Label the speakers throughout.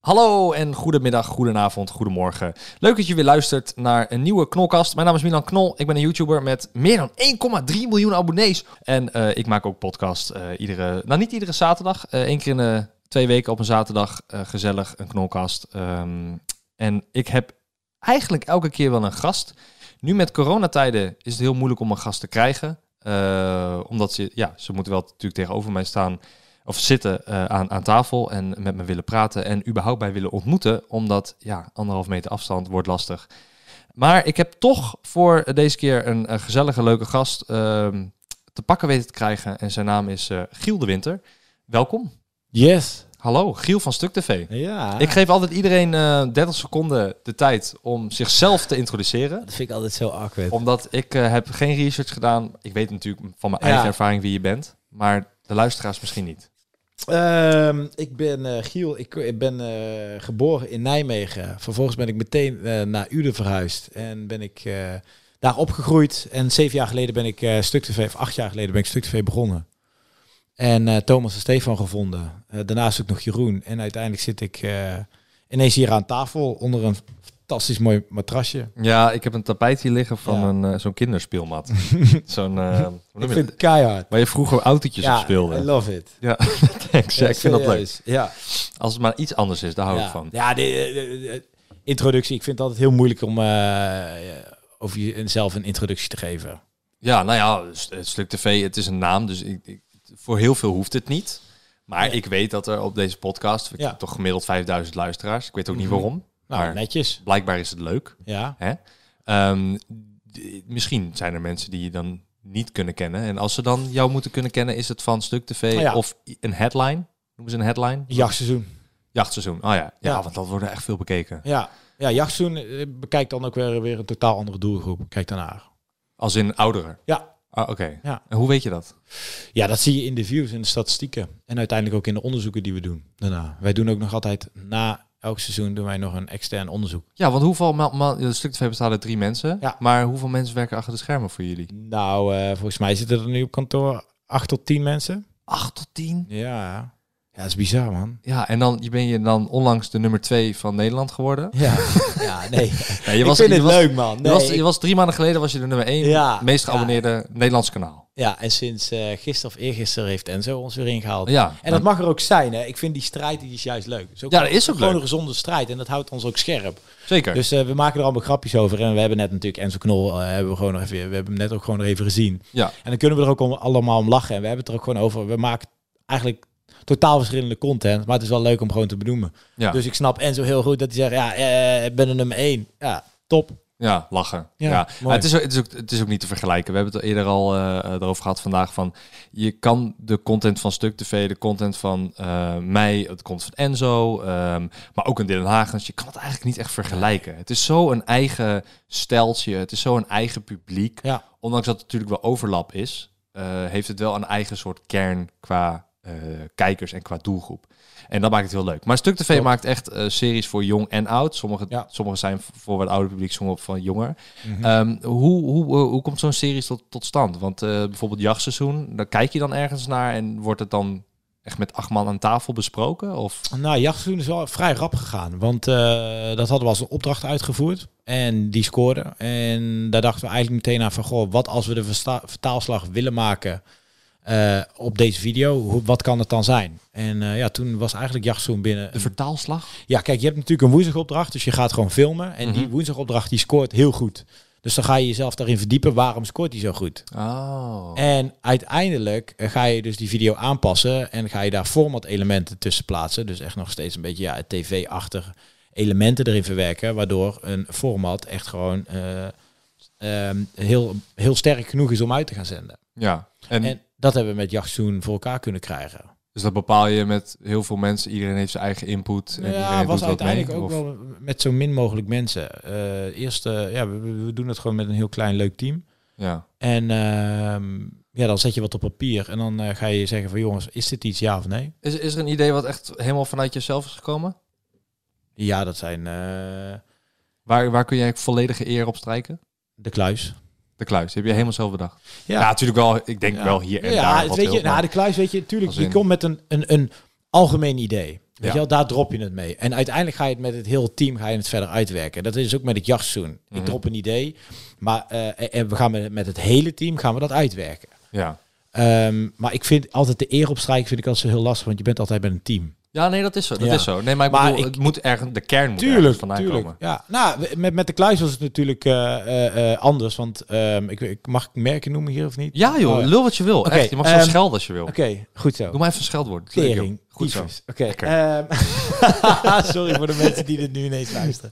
Speaker 1: Hallo en goedemiddag, goedenavond, goedemorgen. Leuk dat je weer luistert naar een nieuwe Knolkast. Mijn naam is Milan Knol, ik ben een YouTuber met meer dan 1,3 miljoen abonnees. En eh, ik maak ook podcast eh, iedere, nou niet iedere zaterdag, eh, één keer in de twee weken op een zaterdag eh, gezellig een Knolkast. Ehm, en ik heb eigenlijk elke keer wel een gast. Nu met coronatijden is het heel moeilijk om een gast te krijgen. Eh, omdat ze, ja, ze moeten wel natuurlijk tegenover mij staan of zitten eh, aan, aan tafel en met me willen praten en überhaupt bij willen ontmoeten. Omdat ja, anderhalf meter afstand wordt lastig. Maar ik heb toch voor deze keer een, eh, gezellige, leuke gast ehm, te pakken weten te krijgen. En zijn naam is eh, Giel de Winter. Welkom.
Speaker 2: Yes.
Speaker 1: Hallo, Giel van Stuk TV.
Speaker 2: Ja.
Speaker 1: Ik geef altijd iedereen eh 30 seconden de tijd om zichzelf te introduceren.
Speaker 2: dat vind ik altijd zo awkward.
Speaker 1: Omdat ik eh, heb geen research gedaan. Ik weet natuurlijk van mijn
Speaker 2: Ja.
Speaker 1: eigen ervaring wie je bent. Maar de luisteraars misschien niet.
Speaker 2: Ehm, ik ben eh, Giel, ik, ik ben eh, geboren in Nijmegen. Vervolgens ben ik meteen eh, naar Uden verhuisd en ben ik eh, daar opgegroeid. En zeven jaar geleden ben ik eh Stuk TV, of acht jaar geleden ben ik Stuk TV begonnen. En eh, Thomas en Stefan gevonden. Eh, daarnaast ook nog Jeroen. En uiteindelijk zit ik eh, ineens hier aan tafel onder een fantastisch mooi matrasje.
Speaker 1: Ja, ik heb een tapijt hier liggen van
Speaker 2: Ja.
Speaker 1: een, eh, zo'n kinderspeelmat. zo'n, eh, hoe noem
Speaker 2: Ik
Speaker 1: je
Speaker 2: vind
Speaker 1: dat?
Speaker 2: het keihard.
Speaker 1: Waar je vroeger autootjes op
Speaker 2: I
Speaker 1: speelde.
Speaker 2: love it.
Speaker 1: Ja, thanks. Ja, ik vind dat leuk.
Speaker 2: Serieus, Ja.
Speaker 1: Als het maar iets anders is, daar hou ik van.
Speaker 2: Ja, de, de- de- de introductie. Ik vind het altijd heel moeilijk om eh, eh, over jezelf een introductie te geven.
Speaker 1: Ja, nou ja, s- het stuk tv, het is een naam, dus ik, ik- voor heel veel hoeft het niet. Maar
Speaker 2: Nee.
Speaker 1: ik weet dat er op deze podcast, ik
Speaker 2: Ja.
Speaker 1: heb toch gemiddeld 5000 luisteraars, ik weet ook niet waarom,
Speaker 2: Nou,
Speaker 1: maar
Speaker 2: netjes.
Speaker 1: blijkbaar is het leuk.
Speaker 2: Ja.
Speaker 1: Hè? Ehm, d- misschien zijn er mensen die je dan niet kunnen kennen. En als ze dan jou moeten kunnen kennen, is het van stuk tv
Speaker 2: Oh ja.
Speaker 1: of i- een headline. Noemen ze een headline?
Speaker 2: Jachtseizoen.
Speaker 1: Jachtseizoen. Oh ja. ja,
Speaker 2: Ja.
Speaker 1: want dat wordt echt veel bekeken.
Speaker 2: Ja. Ja, jachtseizoen eh, bekijkt dan ook weer, weer een totaal andere doelgroep. Kijk daarnaar.
Speaker 1: Als in ouderen.
Speaker 2: Ja.
Speaker 1: Ah, Oké.
Speaker 2: Ja.
Speaker 1: En hoe weet je dat?
Speaker 2: Ja, dat zie je in de views en de statistieken. En uiteindelijk ook in de onderzoeken die we doen daarna. Wij doen ook nog altijd na elk seizoen doen wij nog een extern onderzoek.
Speaker 1: Ja, want hoeveel man, man, ja, stuk tv bestaat uit drie mensen.
Speaker 2: Ja.
Speaker 1: Maar hoeveel mensen werken achter de schermen voor jullie?
Speaker 2: Nou, eh, volgens mij zitten er nu op kantoor acht tot tien mensen.
Speaker 1: Acht tot tien.
Speaker 2: Ja. Ja, dat is bizar, man.
Speaker 1: Ja, en dan je ben je dan onlangs de nummer twee van Nederland geworden.
Speaker 2: Ja, ja nee.
Speaker 1: Nee, je
Speaker 2: ik vind
Speaker 1: je
Speaker 2: het
Speaker 1: was,
Speaker 2: leuk, man.
Speaker 1: Je,
Speaker 2: Nee,
Speaker 1: was,
Speaker 2: ik-
Speaker 1: je was drie maanden geleden was je de nummer één
Speaker 2: Ja,
Speaker 1: meest
Speaker 2: ja.
Speaker 1: geabonneerde Nederlands kanaal.
Speaker 2: Ja, en sinds eh, gisteren of eergisteren heeft Enzo ons weer ingehaald.
Speaker 1: Ja,
Speaker 2: En dat mag er ook zijn, hè. Ik vind die strijd die is juist leuk. Is ook
Speaker 1: Ja, dat is ook
Speaker 2: Gewoon
Speaker 1: leuk.
Speaker 2: een gezonde strijd en dat houdt ons ook scherp.
Speaker 1: zeker.
Speaker 2: Dus eh, we maken er allemaal grapjes over. En we hebben net natuurlijk Enzo Knol, eh, hebben we, gewoon nog even, we hebben hem net ook gewoon nog even gezien.
Speaker 1: ja.
Speaker 2: En dan kunnen we er ook om- allemaal om lachen. En we hebben het er ook gewoon over. We maken eigenlijk totaal verschillende content, maar het is wel leuk om gewoon te benoemen.
Speaker 1: Ja.
Speaker 2: Dus ik snap Enzo heel goed dat hij zegt, ja, eh, ik ben de nummer één. Ja, top.
Speaker 1: ja, lachen. Ja,
Speaker 2: Ja,
Speaker 1: Maar
Speaker 2: mooi.
Speaker 1: het, is, ook- het, is ook, het is ook niet te vergelijken. We hebben het eerder al eh erover gehad vandaag. Van, je kan de content van Stuk TV, de content van eh, mij, het content van Enzo, ehm, maar ook een Dylan Hagens. Je kan het eigenlijk niet echt vergelijken. Het is zo'n eigen steltje. Het is zo'n eigen publiek.
Speaker 2: Ja.
Speaker 1: Ondanks dat het natuurlijk wel overlap is, eh, heeft het wel een eigen soort kern qua eh, kijkers en qua doelgroep. En dat maakt het heel leuk. Maar Stuk TV
Speaker 2: Klopt.
Speaker 1: maakt echt eh, series voor jong en oud. Sommige,
Speaker 2: Ja. Mhm.
Speaker 1: sommige zijn voor wat ouder publiek, sommige van jonger. Ehm, hoe, hoe, eh, hoe komt zo'n serie tot, tot stand? Want eh, bijvoorbeeld jachtseizoen, daar kijk je dan ergens naar en wordt het dan echt met acht man aan tafel besproken? Of
Speaker 2: Nou, jachtseizoen is wel vrij rap gegaan. Want eh, dat hadden we als een opdracht uitgevoerd. En die scoorde. En daar dachten we eigenlijk meteen aan van... Goh, wat als we de versta- vertaalslag willen maken eh, op deze video? Hoe, wat kan het dan zijn? En eh, ja, toen was eigenlijk jachtseizoen binnen...
Speaker 1: de vertaalslag?
Speaker 2: Ja, kijk, je hebt natuurlijk een woensdagopdracht. Dus je gaat gewoon filmen. En die
Speaker 1: Mhm.
Speaker 2: woensdagopdracht, die scoort heel goed. Dus dan ga je jezelf daarin verdiepen. Waarom scoort die zo goed?
Speaker 1: Oh.
Speaker 2: En uiteindelijk eh, ga je dus die video aanpassen en ga je daar format elementen tussen plaatsen. Dus echt nog steeds een beetje ja, tv-achtig elementen erin verwerken, waardoor een format echt gewoon eh, ehm, heel, heel sterk genoeg is om uit te gaan zenden.
Speaker 1: Ja. En,
Speaker 2: En dat hebben we met Jachtsoen voor elkaar kunnen krijgen.
Speaker 1: Dus dat bepaal je met heel veel mensen. Iedereen heeft zijn eigen input. En
Speaker 2: ja,
Speaker 1: iedereen
Speaker 2: was
Speaker 1: doet wat mee.
Speaker 2: uiteindelijk ook
Speaker 1: of-
Speaker 2: wel met zo min mogelijk mensen. Eh eerst, eh, ja, we, we- we doen het gewoon met een heel klein leuk team.
Speaker 1: Ja.
Speaker 2: En ehm, ja, dan zet je wat op papier en dan eh, ga je zeggen van jongens, is dit iets ja of nee?
Speaker 1: Is, is er een idee wat echt helemaal vanuit jezelf is gekomen?
Speaker 2: Ja, dat zijn eh,
Speaker 1: Waar, waar kun je eigenlijk volledige eer op strijken?
Speaker 2: de kluis.
Speaker 1: De kluis, die heb je helemaal zelf bedacht.
Speaker 2: Ja.
Speaker 1: Ja, natuurlijk wel. Ik denk
Speaker 2: Ja.
Speaker 1: wel hier en
Speaker 2: ja,
Speaker 1: daar.
Speaker 2: het
Speaker 1: wat
Speaker 2: weet
Speaker 1: wil,
Speaker 2: je, nou,
Speaker 1: maar-
Speaker 2: de kluis weet je, natuurlijk,
Speaker 1: Als
Speaker 2: je
Speaker 1: in-
Speaker 2: komt met een, een, een algemeen idee. Weet
Speaker 1: Ja.
Speaker 2: je wel, daar drop je het mee. En uiteindelijk ga je het met het hele team ga je het verder uitwerken. Dat is ook met het jachtseizoen. Ik
Speaker 1: Mhm.
Speaker 2: drop een idee, maar eh, en- en we gaan met, met het hele team gaan we dat uitwerken.
Speaker 1: ja.
Speaker 2: Ehm, maar ik vind altijd de eer op strijk vind ik altijd zo heel lastig, want je bent altijd met een team.
Speaker 1: ja, nee, dat is zo. Dat
Speaker 2: Ja.
Speaker 1: is zo. Nee, maar ik
Speaker 2: Maar
Speaker 1: bedoel,
Speaker 2: ik-
Speaker 1: het moet ergens, de kern moet ergens vandaan komen.
Speaker 2: Ja, nou, we- met, met de kluis was het natuurlijk eh, eh, eh, anders, want ehm, ik, ik mag ik merken noemen hier of niet?
Speaker 1: Ja joh,
Speaker 2: Oh, ja.
Speaker 1: lul wat je wil.
Speaker 2: Oké,
Speaker 1: Echt, je mag zo
Speaker 2: ehm,
Speaker 1: schelden als je wil.
Speaker 2: Oké, goed zo.
Speaker 1: Doe maar even een scheldwoord. Dat is leuk, joh.
Speaker 2: Tering.
Speaker 1: Goed zo.
Speaker 2: tyfus. Oké.
Speaker 1: Lekker.
Speaker 2: ehm, sorry voor de mensen die dit nu ineens luisteren.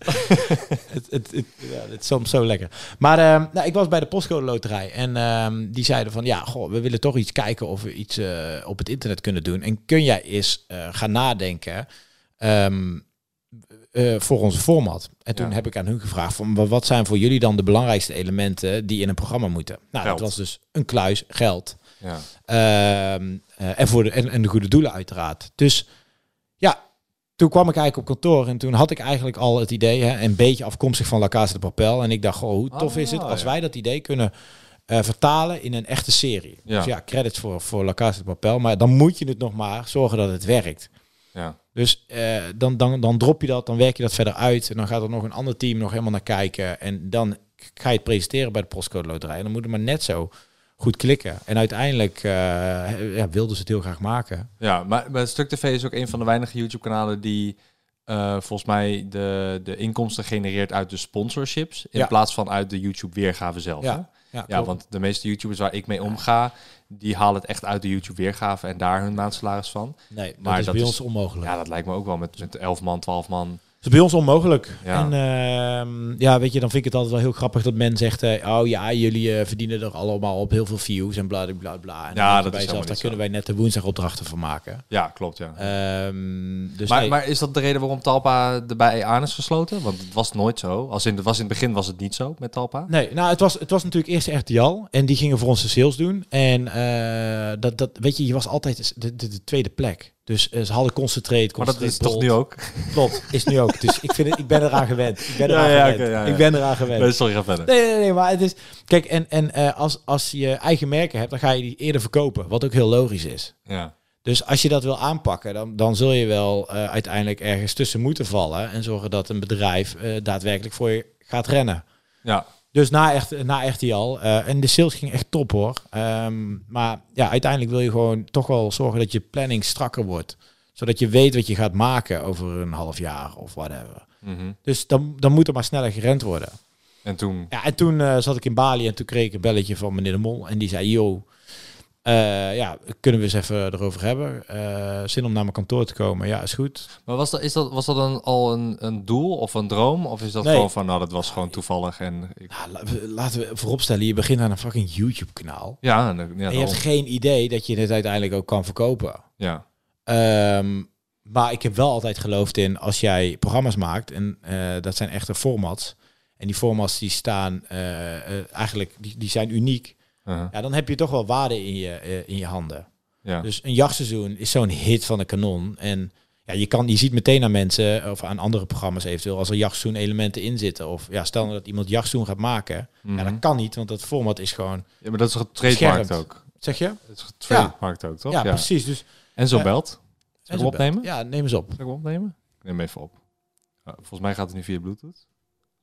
Speaker 2: het, het, het, ja, het is soms zo lekker. Maar ehm, nou, ik was bij de postcode loterij. En ehm, die zeiden van, ja, goh, we willen toch iets kijken of we iets eh, op het internet kunnen doen. En kun jij eens eh, gaan nadenken ehm, eh, voor onze format? En toen
Speaker 1: Ja.
Speaker 2: heb ik aan hun gevraagd, van, "Wa- wat zijn voor jullie dan de belangrijkste elementen die in een programma moeten? Nou,
Speaker 1: Geld.
Speaker 2: dat was dus een kluis, geld.
Speaker 1: Ja.
Speaker 2: Ehm, eh, en, voor de, en, en de goede doelen uiteraard. Dus ja, toen kwam ik eigenlijk op kantoor en toen had ik eigenlijk al het idee, hè, een beetje afkomstig van La Casa de Papel. En ik dacht, goh, hoe tof
Speaker 1: Ah,
Speaker 2: is het als
Speaker 1: ja.
Speaker 2: wij dat idee kunnen eh, vertalen in een echte serie.
Speaker 1: Ja.
Speaker 2: Dus ja, credits voor, voor La Casa de Papel, maar dan moet je het nog maar zorgen dat het werkt.
Speaker 1: Ja.
Speaker 2: Dus eh, dan, dan, dan drop je dat, dan werk je dat verder uit en dan gaat er nog een ander team nog helemaal naar kijken. En dan ga je het presenteren bij de postcode loterij. En dan moet het maar net zo goed klikken. En uiteindelijk eh, ja, wilden ze het heel graag maken.
Speaker 1: Ja, maar, maar Stuk TV is ook een van de weinige YouTube-kanalen die eh, volgens mij de, de inkomsten genereert uit de sponsorships. In
Speaker 2: Ja.
Speaker 1: plaats van uit de YouTube-weergave zelf. hè?
Speaker 2: Ja, ja,
Speaker 1: Ja,
Speaker 2: klopt.
Speaker 1: want de meeste YouTubers waar ik mee omga, die halen het echt uit de YouTube-weergave en daar hun maandsalaris van.
Speaker 2: nee, dat
Speaker 1: maar
Speaker 2: is
Speaker 1: dat
Speaker 2: bij
Speaker 1: is-
Speaker 2: ons onmogelijk.
Speaker 1: Ja, dat lijkt me ook wel met, met 11 man, 12 man.
Speaker 2: Dat is bij ons onmogelijk.
Speaker 1: Ja.
Speaker 2: En ehm, ja, weet je, dan vind ik het altijd wel heel grappig dat men zegt... eh, oh ja, jullie eh, verdienen er allemaal op heel veel views en bla bla bla. bla. En dan
Speaker 1: Ja,
Speaker 2: denk
Speaker 1: dat
Speaker 2: je bij
Speaker 1: is helemaal
Speaker 2: jezelf,
Speaker 1: niet
Speaker 2: Daar
Speaker 1: zo.
Speaker 2: kunnen wij net de woensdagopdrachten van maken.
Speaker 1: Ja, klopt, ja.
Speaker 2: Ehm, dus
Speaker 1: maar,
Speaker 2: nee.
Speaker 1: maar is dat de reden waarom Talpa erbij aan is gesloten? Want het was nooit zo. Als in, het was in het begin was het niet zo met Talpa.
Speaker 2: Nee, nou, het was, het was natuurlijk eerst RTL. En die gingen voor ons de sales doen. En eh, dat, dat, weet je, je was altijd de, de, de tweede plek. Dus eh, ze hadden concentrate,
Speaker 1: Maar dat
Speaker 2: concentrate
Speaker 1: is toch
Speaker 2: Bold.
Speaker 1: nu ook?
Speaker 2: Klopt, is nu ook. Dus ik, vind het, ik ben eraan gewend. Ik ben
Speaker 1: Ja,
Speaker 2: eraan
Speaker 1: ja,
Speaker 2: gewend.
Speaker 1: oké, ja, ja.
Speaker 2: Ik ben eraan gewend.
Speaker 1: Nee, sorry, ga verder.
Speaker 2: Nee, nee, nee, maar het is... Kijk, en, en eh, als, als je eigen merken hebt, dan ga je die eerder verkopen. Wat ook heel logisch is.
Speaker 1: Ja.
Speaker 2: Dus als je dat wil aanpakken, dan, dan zul je wel eh, uiteindelijk ergens tussen moeten vallen. En zorgen dat een bedrijf eh, daadwerkelijk voor je gaat rennen.
Speaker 1: Ja.
Speaker 2: Dus na, echt, na RTL. eh en de sales ging echt top hoor. Ehm, maar ja, uiteindelijk wil je gewoon toch wel zorgen dat je planning strakker wordt. Zodat je weet wat je gaat maken over een half jaar of whatever.
Speaker 1: Mhm.
Speaker 2: Dus dan, dan moet er maar sneller gerend worden.
Speaker 1: En toen...
Speaker 2: Ja, en toen eh, zat ik in Bali en toen kreeg ik een belletje van meneer de Mol. En die zei, yo, eh, ja, kunnen we eens even erover hebben? Eh, zin om naar mijn kantoor te komen? Ja, is goed.
Speaker 1: Maar was dat, is dat, was dat een, al een, een doel of een droom? Of is dat
Speaker 2: Nee.
Speaker 1: gewoon van, nou, dat was gewoon toevallig en... Ik,
Speaker 2: Nou, la- we- laten we vooropstellen, je begint aan een fucking YouTube kanaal.
Speaker 1: ja, en, ja,
Speaker 2: En je
Speaker 1: daarom.
Speaker 2: hebt geen idee dat je dit uiteindelijk ook kan verkopen.
Speaker 1: ja.
Speaker 2: Ehm, maar ik heb wel altijd geloofd in als jij programma's maakt, en eh, dat zijn echte formats. En die formats die staan eh, eh, eigenlijk, die, die zijn uniek.
Speaker 1: Uh-huh.
Speaker 2: Ja, dan heb je toch wel waarde in je, eh, in je handen.
Speaker 1: ja.
Speaker 2: Dus een jachtseizoen is zo'n hit van de kanon. En ja, je, kan, je ziet meteen aan mensen eh, of aan andere programma's eventueel als er jachtseizoen elementen in zitten. Of ja, stel nou dat iemand jachtseizoen gaat maken.
Speaker 1: Mhm.
Speaker 2: Ja, dat kan niet, want dat format is gewoon.
Speaker 1: Ja, maar dat is getrademarkt
Speaker 2: Schermd.
Speaker 1: ook.
Speaker 2: Zeg je?
Speaker 1: Het is getrademarkt ook, toch?
Speaker 2: ja, precies. Dus,
Speaker 1: En zo
Speaker 2: Ja.
Speaker 1: belt. Zal
Speaker 2: en
Speaker 1: ik
Speaker 2: zo
Speaker 1: hem opnemen?
Speaker 2: Ja, neem eens op.
Speaker 1: Zal ik hem opnemen? Ik neem hem even op. Uh, volgens mij gaat het nu via Bluetooth.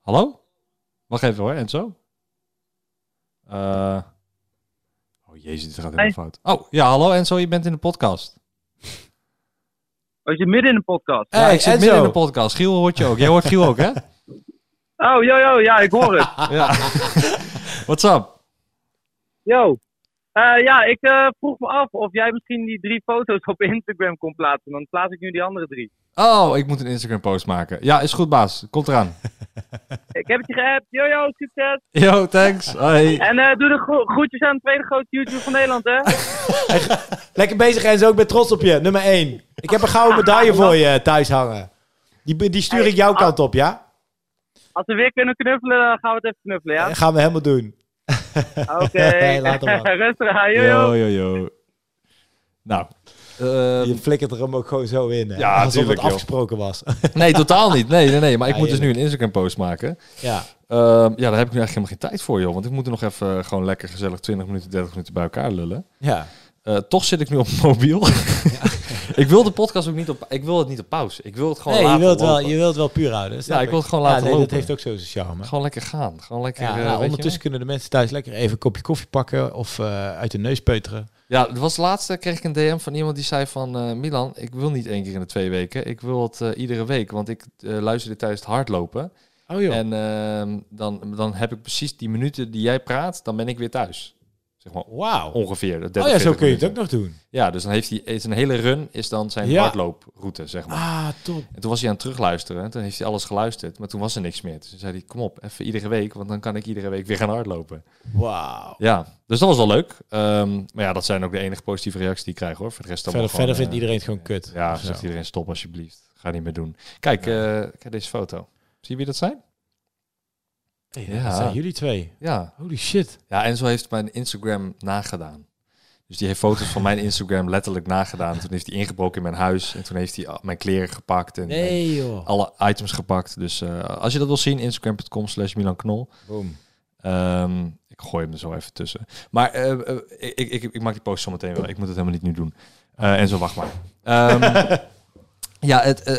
Speaker 1: Hallo? Wacht even hoor, Enzo. Eh Oh jezus, dit gaat helemaal
Speaker 3: Hey.
Speaker 1: fout. Oh, ja, hallo Enzo, je bent in de podcast.
Speaker 3: Oh, je zit midden in de podcast.
Speaker 1: ja,
Speaker 2: Hey,
Speaker 1: ik zit
Speaker 2: Enzo.
Speaker 1: midden in de podcast. Giel hoort je ook. Jij hoort Giel ook, hè?
Speaker 3: Oh, yo, yo, ja, ik hoor het.
Speaker 1: ja. What's up?
Speaker 3: Yo. Eh, ja, ik eh, vroeg me af of jij misschien die drie foto's op Instagram kon plaatsen. Dan plaats ik nu die andere drie.
Speaker 1: Oh, ik moet een Instagram post maken. Ja, is goed baas. Komt eraan.
Speaker 3: Eh, Ik heb het je geappt. Yo, yo, succes.
Speaker 1: Yo, thanks. Hoi.
Speaker 3: En eh, doe de gro- groetjes aan de tweede grootste YouTube van Nederland, hè?
Speaker 2: Lekker bezig en zo, ik ben trots op je. Nummer 1. Ik heb een gouden medaille voor je eh, thuis hangen. Die, die stuur ik jouw
Speaker 1: ah.
Speaker 2: kant op, ja?
Speaker 3: Als we weer kunnen knuffelen, dan gaan we het even knuffelen, ja?
Speaker 2: Dat gaan we helemaal doen.
Speaker 3: Oké.
Speaker 2: Later, man.
Speaker 3: Rustig aan, yo,
Speaker 1: Yo,
Speaker 3: yo.
Speaker 1: yo, yo. Nou. ehm,
Speaker 2: Je flikkert er hem ook gewoon zo in. hè.
Speaker 1: Ja,
Speaker 2: Alsof
Speaker 1: tuurlijk,
Speaker 2: het
Speaker 1: joh.
Speaker 2: afgesproken was.
Speaker 1: nee, totaal niet. Nee, nee, nee. Maar ik
Speaker 2: Ja,
Speaker 1: moet dus
Speaker 2: je-
Speaker 1: nu een Instagram-post maken.
Speaker 2: ja.
Speaker 1: Ehm, ja, daar heb ik nu eigenlijk helemaal geen tijd voor, joh. Want ik moet er nog even eh, gewoon lekker gezellig 20 minuten, 30 minuten bij elkaar lullen.
Speaker 2: ja.
Speaker 1: Eh, toch zit ik nu op mobiel. ik wil de podcast ook niet op... Ik wil het niet op pauze. Ik wil het gewoon
Speaker 2: Nee, je
Speaker 1: laten
Speaker 2: wilt, wel,
Speaker 1: lopen.
Speaker 2: je wilt wel puur houden. snap
Speaker 1: Ja, ik wil het gewoon laten
Speaker 2: nee,
Speaker 1: lopen.
Speaker 2: Dat heeft ook zo zijn charme.
Speaker 1: Gewoon lekker gaan. Gewoon lekker...
Speaker 2: Ja,
Speaker 1: eh,
Speaker 2: nou,
Speaker 1: weet je
Speaker 2: ondertussen kunnen de mensen thuis lekker even een kopje koffie pakken of eh, uit hun neus peuteren.
Speaker 1: Ja, er was laatste kreeg ik een DM van iemand die zei van eh, Milan, ik wil niet één keer in de twee weken. Ik wil het eh, iedere week, want ik eh, luister dit tijdens het hardlopen.
Speaker 2: Oh joh.
Speaker 1: En ehm, dan, dan heb ik precies die minuten die jij praat, dan ben ik weer thuis. Zeg maar
Speaker 2: Wauw. Oh
Speaker 1: ongeveer. de 30,
Speaker 2: ja, zo
Speaker 1: 40
Speaker 2: kun je het ook
Speaker 1: minuten.
Speaker 2: nog doen.
Speaker 1: Ja, dus dan heeft hij is een hele run, is dan zijn
Speaker 2: Ja.
Speaker 1: hardlooproute, zeg maar.
Speaker 2: Ah, top.
Speaker 1: En toen was hij aan het terugluisteren. en Toen heeft hij alles geluisterd. Maar toen was er niks meer. Dus toen zei hij, kom op, even iedere week. Want dan kan ik iedere week weer gaan hardlopen.
Speaker 2: Wauw.
Speaker 1: Ja, dus dat was wel leuk. Ehm, maar ja, dat zijn ook de enige positieve reacties die ik krijg hoor. Voor de rest allemaal
Speaker 2: Verder,
Speaker 1: gewoon,
Speaker 2: verder vindt
Speaker 1: eh,
Speaker 2: iedereen het gewoon kut.
Speaker 1: Ja,
Speaker 2: Of zo.
Speaker 1: zegt iedereen stop alsjeblieft. Ga niet meer doen. Kijk, eh, kijk deze foto. Zie je wie dat zijn?
Speaker 2: Ja, dat zijn jullie twee.
Speaker 1: Ja.
Speaker 2: Holy shit.
Speaker 1: ja, en zo heeft mijn Instagram nagedaan. Dus die heeft foto's van mijn Instagram letterlijk nagedaan. Toen heeft hij ingebroken in mijn huis. En toen heeft hij al mijn kleren gepakt. En, en
Speaker 2: Nee joh.
Speaker 1: alle items gepakt. Dus eh, als je dat wil zien, instagram.com slash Milan Knol.
Speaker 2: Boom.
Speaker 1: Ehm, ik gooi hem er zo even tussen. Maar eh, eh, ik, ik, ik, ik maak die post zo meteen wel. Ik moet het helemaal niet nu doen. Eh, en zo wacht maar. Ehm, ja, het, eh,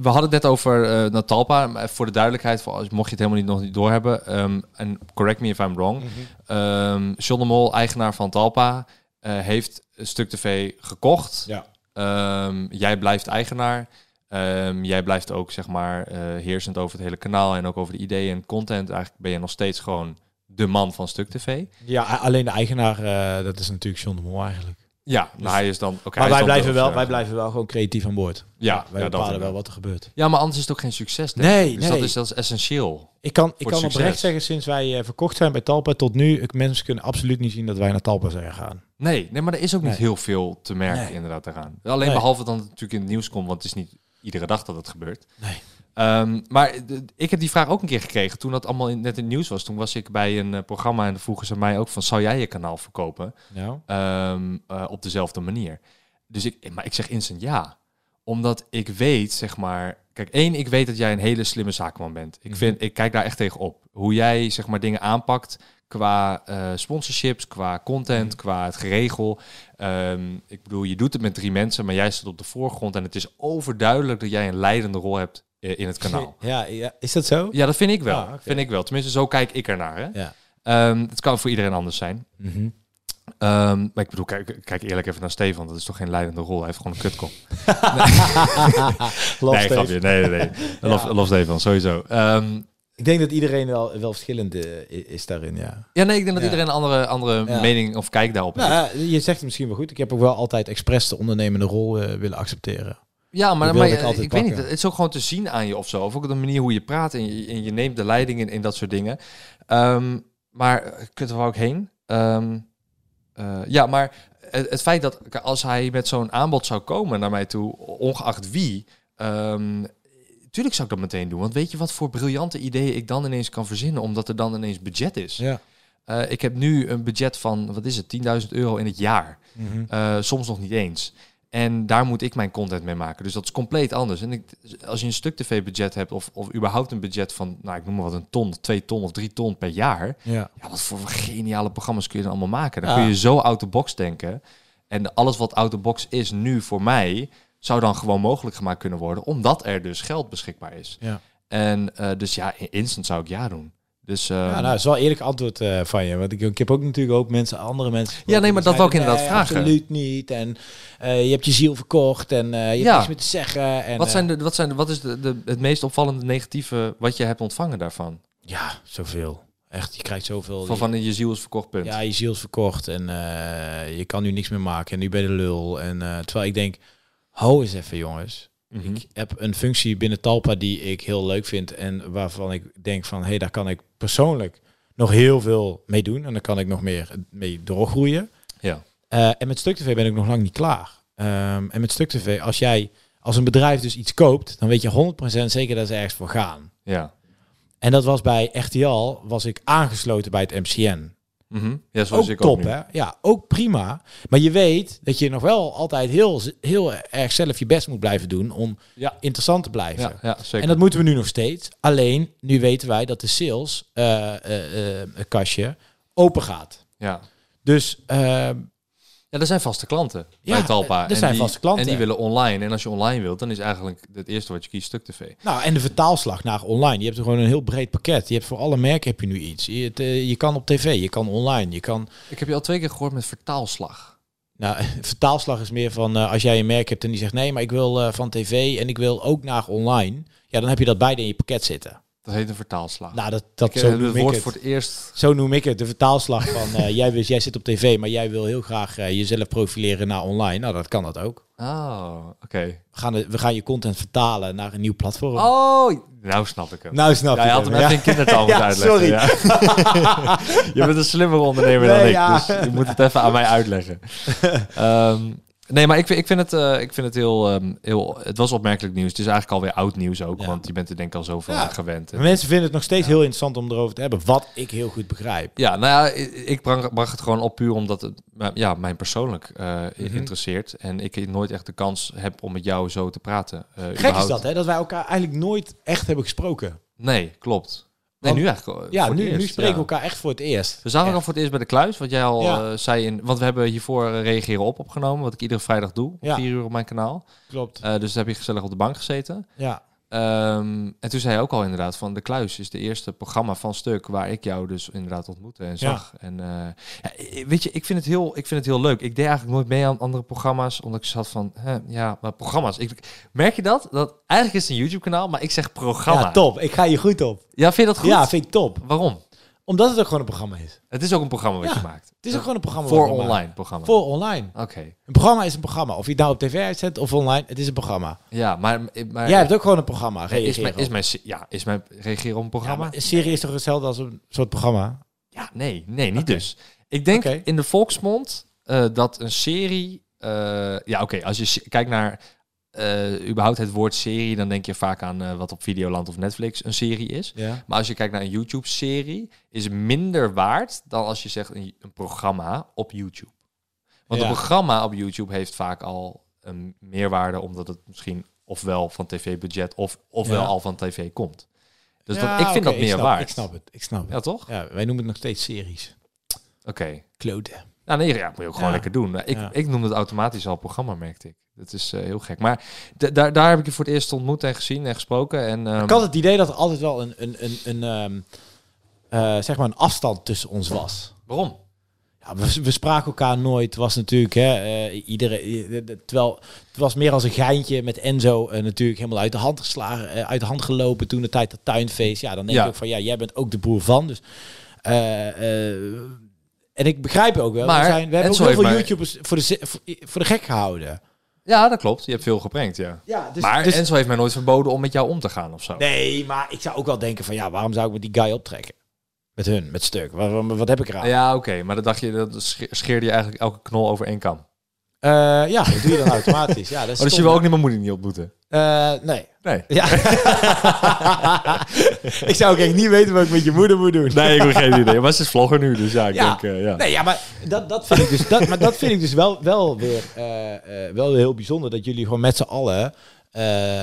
Speaker 1: we hadden het net over eh, Natalpa. Maar Voor de duidelijkheid, voor als, mocht je het helemaal niet, nog niet doorhebben. ehm, En correct me if I'm wrong. Ehm John de Mol, eigenaar van Talpa, eh, heeft een stuk tv gekocht.
Speaker 2: Ja.
Speaker 1: Ehm, jij blijft eigenaar. Ehm, jij blijft ook zeg maar eh, heersend over het hele kanaal en ook over de ideeën en content. Eigenlijk ben je nog steeds gewoon de man van Stuk TV.
Speaker 2: Ja, a- alleen de eigenaar, eh, dat is natuurlijk John de Mol eigenlijk.
Speaker 1: Ja, nou, hij is dan. oké, hij
Speaker 2: dus- maar
Speaker 1: is
Speaker 2: wij
Speaker 1: dan
Speaker 2: blijven,
Speaker 1: de-
Speaker 2: wel, wij blijven wel gewoon creatief aan boord.
Speaker 1: Ja, ja,
Speaker 2: wij
Speaker 1: dat
Speaker 2: bepalen wel
Speaker 1: inderdaad.
Speaker 2: wat er gebeurt.
Speaker 1: Ja, maar anders is het ook geen succes. Denk
Speaker 2: Nee,
Speaker 1: ik. dus dat
Speaker 2: nee.
Speaker 1: is, dat is essentieel.
Speaker 2: Ik kan, ik
Speaker 1: Voor
Speaker 2: kan
Speaker 1: het
Speaker 2: oprecht
Speaker 1: succes.
Speaker 2: zeggen, sinds wij eh, verkocht zijn bij Talpa tot nu, ik- mensen kunnen absoluut niet zien dat wij naar Talpa zijn gegaan.
Speaker 1: Nee, nee, maar er is ook niet
Speaker 2: Nee.
Speaker 1: heel veel te merken
Speaker 2: Nee.
Speaker 1: inderdaad daaraan. Alleen
Speaker 2: Nee.
Speaker 1: behalve dan natuurlijk in het nieuws komt, want het is niet iedere dag dat het gebeurt.
Speaker 2: Nee.
Speaker 1: Ehm, maar de- ik heb die vraag ook een keer gekregen toen dat allemaal in, net in het nieuws was. Toen was ik bij een eh, programma en dan vroegen ze mij ook van, zou jij je kanaal verkopen
Speaker 2: Nou?
Speaker 1: Ehm, eh, op dezelfde manier? Dus ik, maar ik zeg instant ja. Omdat ik weet, zeg maar, kijk één, ik weet dat jij een hele slimme zaakman bent.
Speaker 2: Mhm.
Speaker 1: Ik, vind, ik kijk daar echt tegen op. Hoe jij, zeg maar, dingen aanpakt qua eh, sponsorships, qua content,
Speaker 2: Mhm.
Speaker 1: qua het geregel. Ehm, ik bedoel, je doet het met drie mensen, maar jij staat op de voorgrond en het is overduidelijk dat jij een leidende rol hebt eh, in het kanaal.
Speaker 2: Ja, ja, is dat zo?
Speaker 1: Ja, dat vind ik wel.
Speaker 2: Ah, oké.
Speaker 1: Vind ik wel. Tenminste, zo kijk ik ernaar. Hè?
Speaker 2: Ja.
Speaker 1: Ehm, het kan voor iedereen anders zijn.
Speaker 2: Mhm.
Speaker 1: Ehm, maar ik bedoel, kijk, kijk eerlijk even naar Stefan. Dat is toch geen leidende rol. Hij heeft gewoon een kutkop.
Speaker 2: Love
Speaker 1: nee,
Speaker 2: Steve.
Speaker 1: grapje. Nee, nee, nee. Lof, lof Stefan, sowieso. Ehm,
Speaker 2: Ik denk dat iedereen wel, wel verschillend eh, i- is daarin, ja.
Speaker 1: ja, nee, ik denk dat
Speaker 2: Ja.
Speaker 1: iedereen een andere, andere
Speaker 2: Ja.
Speaker 1: mening of kijk daarop heeft.
Speaker 2: Nou, je zegt het misschien wel goed. Ik heb ook wel altijd expres de ondernemende rol eh, willen accepteren.
Speaker 1: Ja, maar,
Speaker 2: wilde
Speaker 1: maar
Speaker 2: ik
Speaker 1: eh,
Speaker 2: altijd
Speaker 1: ik weet niet.
Speaker 2: pakken.
Speaker 1: Het is ook gewoon te zien aan je of zo. Of ook de manier hoe je praat en je, en je neemt de leiding in, in dat soort dingen. Ehm, maar eh, kunt er wel ook heen. Ehm, eh, ja, maar het, het feit dat k- als hij met zo'n aanbod zou komen naar mij toe, ongeacht wie. ehm, tuurlijk zou ik dat meteen doen. Want weet je wat voor briljante ideeën ik dan ineens kan verzinnen, omdat er dan ineens budget is.
Speaker 2: Ja.
Speaker 1: Eh, ik heb nu een budget van, wat is het, 10.000 euro in het jaar.
Speaker 2: Mhm.
Speaker 1: Eh, soms nog niet eens. En daar moet ik mijn content mee maken. Dus dat is compleet anders. En ik, als je een stuk tv-budget hebt, of, of überhaupt een budget van, nou ik noem maar wat, een ton, twee ton of drie ton per jaar.
Speaker 2: Ja.
Speaker 1: Ja, wat voor geniale programma's kun je dan allemaal maken? Dan
Speaker 2: Ja.
Speaker 1: kun je zo out the box denken. En alles wat out the box is nu voor mij, zou dan gewoon mogelijk gemaakt kunnen worden, omdat er dus geld beschikbaar is.
Speaker 2: Ja.
Speaker 1: En eh, dus ja, instant zou ik ja doen. Dus, eh,
Speaker 2: Ja, nou, dat is wel een eerlijk antwoord eh, van je. Want ik, ik heb ook natuurlijk ook mensen, andere mensen... gesproken
Speaker 1: Ja, nee, maar
Speaker 2: die
Speaker 1: dat wou ik
Speaker 2: zeiden,
Speaker 1: inderdaad
Speaker 2: "Nee,
Speaker 1: vragen."
Speaker 2: Absoluut niet. En eh, je hebt je ziel verkocht en eh, je hebt
Speaker 1: Ja.
Speaker 2: niks meer te zeggen. En,
Speaker 1: wat,
Speaker 2: eh,
Speaker 1: zijn de, wat, zijn de, wat is de, de, het meest opvallende negatieve wat je hebt ontvangen daarvan?
Speaker 2: Oh, eh, Ja, zoveel. Echt, je krijgt zoveel.
Speaker 1: Van, van je ziel is verkocht, punt.
Speaker 2: Ja, je ziel is verkocht en eh, je kan nu niks meer maken. En nu ben je de lul. En, eh, terwijl ik denk, hou eens even jongens.
Speaker 1: Mhm.
Speaker 2: Ik heb een functie binnen Talpa die ik heel leuk vind en waarvan ik denk van, hé, hey, daar kan ik persoonlijk nog heel veel mee doen en daar kan ik nog meer mee doorgroeien.
Speaker 1: Ja.
Speaker 2: Eh, en met Stuk TV ben ik nog lang niet klaar. Ehm, en met Stuk TV, als jij als een bedrijf dus iets koopt, dan weet je 100% zeker dat ze ergens voor gaan.
Speaker 1: Ja.
Speaker 2: En dat was bij RTL, was ik aangesloten bij het MCN.
Speaker 1: Mhm. ja zoals
Speaker 2: Ook
Speaker 1: ik
Speaker 2: top,
Speaker 1: ook nu.
Speaker 2: hè? Ja, ook prima. Maar je weet dat je nog wel altijd heel, heel erg zelf je best moet blijven doen om
Speaker 1: Ja.
Speaker 2: interessant te blijven.
Speaker 1: Ja, ja, zeker.
Speaker 2: En dat moeten we nu nog steeds. Alleen, nu weten wij dat de sales eh, eh, eh, kastje open gaat.
Speaker 1: ja.
Speaker 2: Dus ehm,
Speaker 1: Ja, er zijn vaste klanten
Speaker 2: Ja,
Speaker 1: bij Talpa.
Speaker 2: er
Speaker 1: En
Speaker 2: zijn
Speaker 1: die-
Speaker 2: vaste klanten.
Speaker 1: En die willen online. En als je online wilt, dan is eigenlijk het eerste wat je kiest stuk tv.
Speaker 2: Nou, en de vertaalslag naar online. Je hebt er gewoon een heel breed pakket. Je hebt voor alle merken heb je nu iets. Je, het, eh, je kan op tv, je kan online, je kan...
Speaker 1: Ik heb je al twee keer gehoord met vertaalslag.
Speaker 2: Nou, vertaalslag is meer van eh, als jij een merk hebt en die zegt... nee, maar ik wil eh, van tv en ik wil ook naar online. Ja, dan heb je dat beide in je pakket zitten.
Speaker 1: Dat heet een vertaalslag.
Speaker 2: Nou, dat, dat
Speaker 1: ik
Speaker 2: zo
Speaker 1: heb
Speaker 2: noem
Speaker 1: het
Speaker 2: ik
Speaker 1: woord
Speaker 2: het.
Speaker 1: voor het eerst.
Speaker 2: Zo noem ik het, de vertaalslag van... eh, jij, wist, jij zit op tv, maar jij wil heel graag eh, jezelf profileren naar online. Nou, dat kan dat ook.
Speaker 1: Oh, oké.
Speaker 2: We gaan, de- we gaan je content vertalen naar een nieuw platform.
Speaker 1: Oh, nou snap ik hem.
Speaker 2: Nou snap
Speaker 1: ja, je
Speaker 2: je
Speaker 1: had hem
Speaker 2: hem,
Speaker 1: even
Speaker 2: ja.
Speaker 1: in kindertaal moeten
Speaker 2: Ja,
Speaker 1: uitleggen.
Speaker 2: sorry.
Speaker 1: ja. je bent een slimmer ondernemer dan
Speaker 2: Nee,
Speaker 1: ik.
Speaker 2: ja.
Speaker 1: Dus je moet het even aan mij uitleggen. Ehm, nee, maar ik, vind- ik, vind het, eh, ik vind het heel, ehm, heel... Het was opmerkelijk nieuws. Het is eigenlijk alweer oud nieuws ook.
Speaker 2: Ja.
Speaker 1: Want je bent er denk ik al zoveel
Speaker 2: Ja.
Speaker 1: aan gewend. En-
Speaker 2: Maar Mensen vinden het nog steeds heel interessant om erover te hebben. Wat ik heel goed begrijp.
Speaker 1: Ja, nou ja, ik- ik brang- bracht het gewoon op puur omdat het maar ja, mij persoonlijk eh,
Speaker 2: Mhm.
Speaker 1: interesseert. En ik nooit echt de kans heb om met jou zo te praten. eh,
Speaker 2: Gek is
Speaker 1: überhaupt.
Speaker 2: dat, hè? Dat wij elkaar eigenlijk nooit echt hebben gesproken.
Speaker 1: Nee, klopt. Nee,
Speaker 2: Want-
Speaker 1: nu eigenlijk. eh,
Speaker 2: Ja,
Speaker 1: voor het
Speaker 2: nu,
Speaker 1: eerst,
Speaker 2: nu spreken we
Speaker 1: ja. Dus-
Speaker 2: elkaar echt voor het eerst.
Speaker 1: We zagen
Speaker 2: Echt.
Speaker 1: elkaar voor het eerst bij de kluis, wat jij al
Speaker 2: Ja.
Speaker 1: eh, zei. In, want we hebben hiervoor eh, reageren op opgenomen, wat ik iedere vrijdag doe. om
Speaker 2: Ja.
Speaker 1: Vier uur op mijn kanaal.
Speaker 2: Klopt.
Speaker 1: Eh, dus daar heb je gezellig op de bank gezeten.
Speaker 2: Ja.
Speaker 1: Ehm, en toen zei hij ook al inderdaad van de kluis is de eerste programma van stuk waar ik jou dus inderdaad ontmoette en zag. En eh, ja, i- weet je, ik vind het heel, ik vind het heel leuk. Ik deed eigenlijk nooit mee aan andere programma's, omdat ik zat van, hè, ja, maar programma's. Ik, merk je dat? Dat eigenlijk is het een YouTube kanaal, maar ik zeg programma.
Speaker 2: ja, top. Ik ga je goed op.
Speaker 1: Ja, vind je dat goed?
Speaker 2: Ja, vind ik top.
Speaker 1: Waarom?
Speaker 2: Omdat het ook gewoon een programma is.
Speaker 1: Het is ook een programma wat
Speaker 2: Ja,
Speaker 1: je maakt.
Speaker 2: Het is ook gewoon een programma.
Speaker 1: voor
Speaker 2: wat we maken.
Speaker 1: online programma.
Speaker 2: Voor online.
Speaker 1: Oké.
Speaker 2: Een programma is een programma. Of je het nou op tv uitzendt of online, het is een programma.
Speaker 1: Ja, maar, maar
Speaker 2: Jij hebt ook gewoon een programma. Reageren
Speaker 1: is, mijn,
Speaker 2: op.
Speaker 1: is, mijn, ja, is mijn reageren op een
Speaker 2: Ja,
Speaker 1: programma?
Speaker 2: maar een serie is toch hetzelfde als een soort programma?
Speaker 1: Ja, nee, nee, niet
Speaker 2: Oké.
Speaker 1: dus. Ik denk
Speaker 2: Oké.
Speaker 1: in de volksmond eh, dat een serie. eh, ja, oké, als je se- kijkt naar eh, überhaupt het woord serie, dan denk je vaak aan eh, wat op Videoland of Netflix een serie is.
Speaker 2: Ja.
Speaker 1: Maar als je kijkt naar een YouTube-serie, is het minder waard dan als je zegt een, een programma op YouTube. Want
Speaker 2: Ja.
Speaker 1: een programma op YouTube heeft vaak al een meerwaarde, omdat het misschien ofwel van tv-budget of, ofwel
Speaker 2: Ja.
Speaker 1: al van tv komt. Dus
Speaker 2: Ja,
Speaker 1: dat, ik vind
Speaker 2: oké,
Speaker 1: dat meer
Speaker 2: snap-
Speaker 1: waard.
Speaker 2: Ik snap het. Ik snap
Speaker 1: Ja,
Speaker 2: het.
Speaker 1: toch?
Speaker 2: Ja, wij noemen het nog steeds series.
Speaker 1: Oké.
Speaker 2: Kloten.
Speaker 1: Nou nee, ja, moet je ook gewoon
Speaker 2: Ja.
Speaker 1: lekker doen. Nou, Ik,
Speaker 2: Ja.
Speaker 1: ik noem het automatisch al programma, merkte ik. Dat is eh, heel gek. Maar d- daar, daar heb ik je voor het eerst ontmoet en gezien en gesproken. En, ehm,
Speaker 2: Ik had het idee dat er altijd wel een, een, een, een, ehm, eh, zeg maar een afstand tussen ons was.
Speaker 1: Waarom?
Speaker 2: Ja, we, we spraken elkaar nooit. Was natuurlijk, hè, eh, iedere, eh, eh, terwijl het was meer als een geintje met Enzo eh, natuurlijk helemaal uit de hand geslagen, eh, uit de hand gelopen toen de tijd dat tuinfeest. Ja, dan denk
Speaker 1: Ja.
Speaker 2: ik ook van ja, jij bent ook de broer van. Dus, eh, eh, en ik begrijp ook wel.
Speaker 1: Maar
Speaker 2: we, zijn, we hebben
Speaker 1: Enzo
Speaker 2: ook heel
Speaker 1: heeft
Speaker 2: veel
Speaker 1: mij-
Speaker 2: YouTubers voor de, ze- voor, voor de gek gehouden.
Speaker 1: Ja, dat klopt. Je hebt veel geprengd, ja.
Speaker 2: Ja, dus,
Speaker 1: maar
Speaker 2: dus-
Speaker 1: Enzo heeft mij nooit verboden om met jou om te gaan of zo.
Speaker 2: nee, maar ik zou ook wel denken van ja, waarom zou ik met die guy optrekken? Met hun, met stuk. Wat, wat, wat heb ik eraan?
Speaker 1: Ja, oké. Maar dat dacht je, dat sche- scheerde je eigenlijk elke knol over één kam. Oh,
Speaker 2: Eh, ja, dat doe je dan automatisch. Ja, dat is
Speaker 1: dus je
Speaker 2: stom,
Speaker 1: wil ook
Speaker 2: hè?
Speaker 1: niet mijn moeder niet ontmoeten?
Speaker 2: Eh, nee.
Speaker 1: Nee.
Speaker 2: Ja. ik zou ook echt niet weten wat ik met je moeder moet doen.
Speaker 1: Nee, ik heb geen idee. Maar ze is vlogger nu, dus ja, ik
Speaker 2: Ja.
Speaker 1: denk... eh, ja.
Speaker 2: Nee, ja, maar dat, dat vind ik dus, dat, maar dat vind ik dus wel, wel weer eh, eh, wel weer heel bijzonder dat jullie gewoon met z'n allen eh,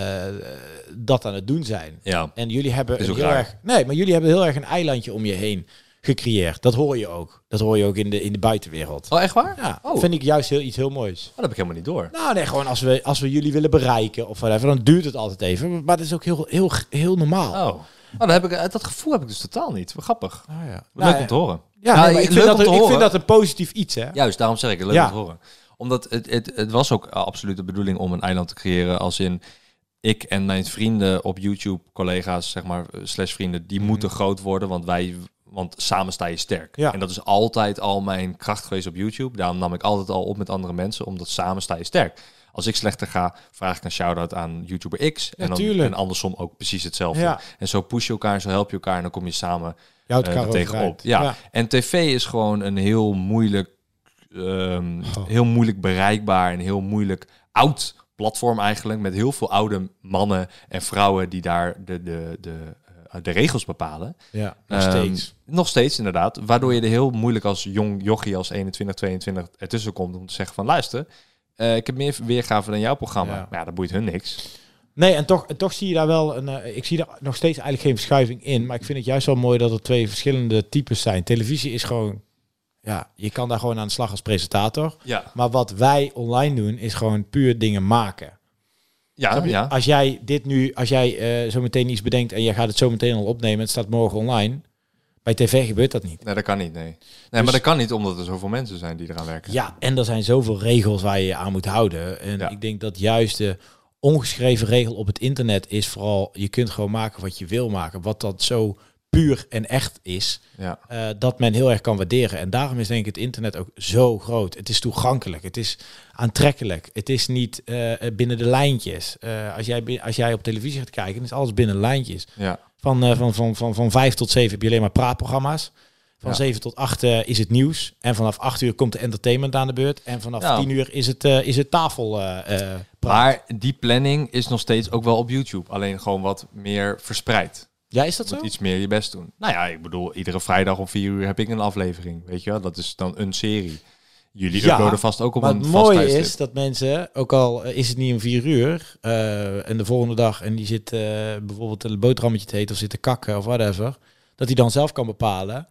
Speaker 2: dat aan het doen zijn.
Speaker 1: ja.
Speaker 2: En jullie hebben
Speaker 1: Is
Speaker 2: een
Speaker 1: ook
Speaker 2: heel
Speaker 1: raar.
Speaker 2: erg. Nee, maar jullie hebben heel erg een eilandje om je heen gecreëerd. Dat hoor je ook. Dat hoor je ook in de, in de buitenwereld.
Speaker 1: Oh, echt waar?
Speaker 2: Ja,
Speaker 1: Oh.
Speaker 2: vind ik juist heel, iets heel moois.
Speaker 1: Oh, dat heb ik helemaal niet door.
Speaker 2: Nou, nee, gewoon als we, als we jullie willen bereiken of whatever, dan duurt het altijd even. Maar dat is ook heel, heel, heel normaal.
Speaker 1: Oh. Oh, dan heb ik, eh, dat gevoel heb ik dus totaal niet. Wat grappig.
Speaker 2: Ah, ja.
Speaker 1: Leuk om te horen. Nou,
Speaker 2: Ja, nee, maar
Speaker 1: leuk
Speaker 2: ik, vind
Speaker 1: om
Speaker 2: dat,
Speaker 1: te
Speaker 2: een- ik
Speaker 1: horen.
Speaker 2: vind dat een positief iets, hè?
Speaker 1: Juist, dus daarom zeg ik het leuk
Speaker 2: Ja.
Speaker 1: om te horen. Omdat het, het, het was ook eh, absoluut de bedoeling om een eiland te creëren. Als in ik en mijn vrienden op YouTube, collega's, zeg maar, eh, slash vrienden,
Speaker 2: Mhm.
Speaker 1: die moeten groot worden. Want wij, want samen sta je sterk.
Speaker 2: Ja.
Speaker 1: En dat is altijd al mijn kracht geweest op YouTube. Daarom nam ik altijd al op met andere mensen, omdat samen sta je sterk. Als ik slechter ga, vraag ik een shout-out aan YouTuber X. En, dan,
Speaker 2: Natuurlijk.
Speaker 1: en andersom ook precies hetzelfde.
Speaker 2: Ja.
Speaker 1: En zo push je elkaar, zo help je elkaar en dan kom je samen
Speaker 2: Je houdt
Speaker 1: eh,
Speaker 2: elkaar
Speaker 1: er
Speaker 2: overeind.
Speaker 1: tegenop. Ja.
Speaker 2: Ja.
Speaker 1: En tv is gewoon een heel moeilijk, ehm,
Speaker 2: Oh.
Speaker 1: heel moeilijk bereikbaar en heel moeilijk oud platform eigenlijk. Met heel veel oude mannen en vrouwen die daar de, de, de, eh, de regels bepalen.
Speaker 2: Ja, nog
Speaker 1: Ehm,
Speaker 2: steeds.
Speaker 1: nog steeds inderdaad. Waardoor je er heel moeilijk als jong jochie als 21, 22 ertussen komt om te zeggen van luister, eh, ik heb meer weergave dan jouw programma.
Speaker 2: Ja.
Speaker 1: Maar ja, dat boeit hun niks.
Speaker 2: Nee, en toch, en toch zie je daar wel een. eh, ik zie daar nog steeds eigenlijk geen verschuiving in. Maar ik vind het juist wel mooi dat er twee verschillende types zijn. Televisie is gewoon. Ja, je kan daar gewoon aan de slag als presentator.
Speaker 1: Ja,
Speaker 2: Maar wat wij online doen, is gewoon puur dingen maken.
Speaker 1: ja,
Speaker 2: Snap je?
Speaker 1: ja.
Speaker 2: Als jij dit nu, als jij eh, zo meteen iets bedenkt en jij gaat het zo meteen al opnemen, het staat morgen online. Bij tv gebeurt dat niet.
Speaker 1: Nee, dat kan niet, nee. Nee, maar dat kan niet omdat er zoveel mensen zijn die eraan werken.
Speaker 2: Dus- Ja, en er zijn zoveel regels waar je je aan moet houden. En
Speaker 1: Ja.
Speaker 2: ik denk dat juist de ongeschreven regel op het internet is vooral... je kunt gewoon maken wat je wil maken. Wat dat zo puur en echt is,
Speaker 1: ja.
Speaker 2: eh, dat men heel erg kan waarderen. En daarom is denk ik het internet ook zo groot. Het is toegankelijk, het is aantrekkelijk. Het is niet eh, binnen de lijntjes. Eh, als, jij, bi- als jij op televisie gaat kijken, dan is alles binnen lijntjes.
Speaker 1: ja.
Speaker 2: Van, eh, van, van, van, van vijf tot zeven heb je alleen maar praatprogramma's. Van
Speaker 1: Ja.
Speaker 2: zeven tot acht eh, is het nieuws. En vanaf acht uur komt de entertainment aan de beurt. En vanaf
Speaker 1: Ja.
Speaker 2: tien uur is het, eh, is het tafel eh, eh,
Speaker 1: Nou.
Speaker 2: praat.
Speaker 1: Maar die planning is nog steeds ook wel op YouTube. Alleen gewoon wat meer verspreid.
Speaker 2: ja, is dat
Speaker 1: Je
Speaker 2: zo?
Speaker 1: moet iets meer je best doen. Nou ja, ik bedoel, iedere vrijdag om vier uur heb ik een aflevering. Weet je wel, dat is dan een serie. Jullie
Speaker 2: Ja,
Speaker 1: uploaden vast ook op
Speaker 2: Maar
Speaker 1: een
Speaker 2: het
Speaker 1: vast
Speaker 2: mooie
Speaker 1: tijdstip.
Speaker 2: is dat mensen, ook al eh, is het niet om vier uur... eh, en de volgende dag en die zit eh, bijvoorbeeld een boterhammetje te eten... of zit te kakken of whatever... dat hij dan zelf kan bepalen...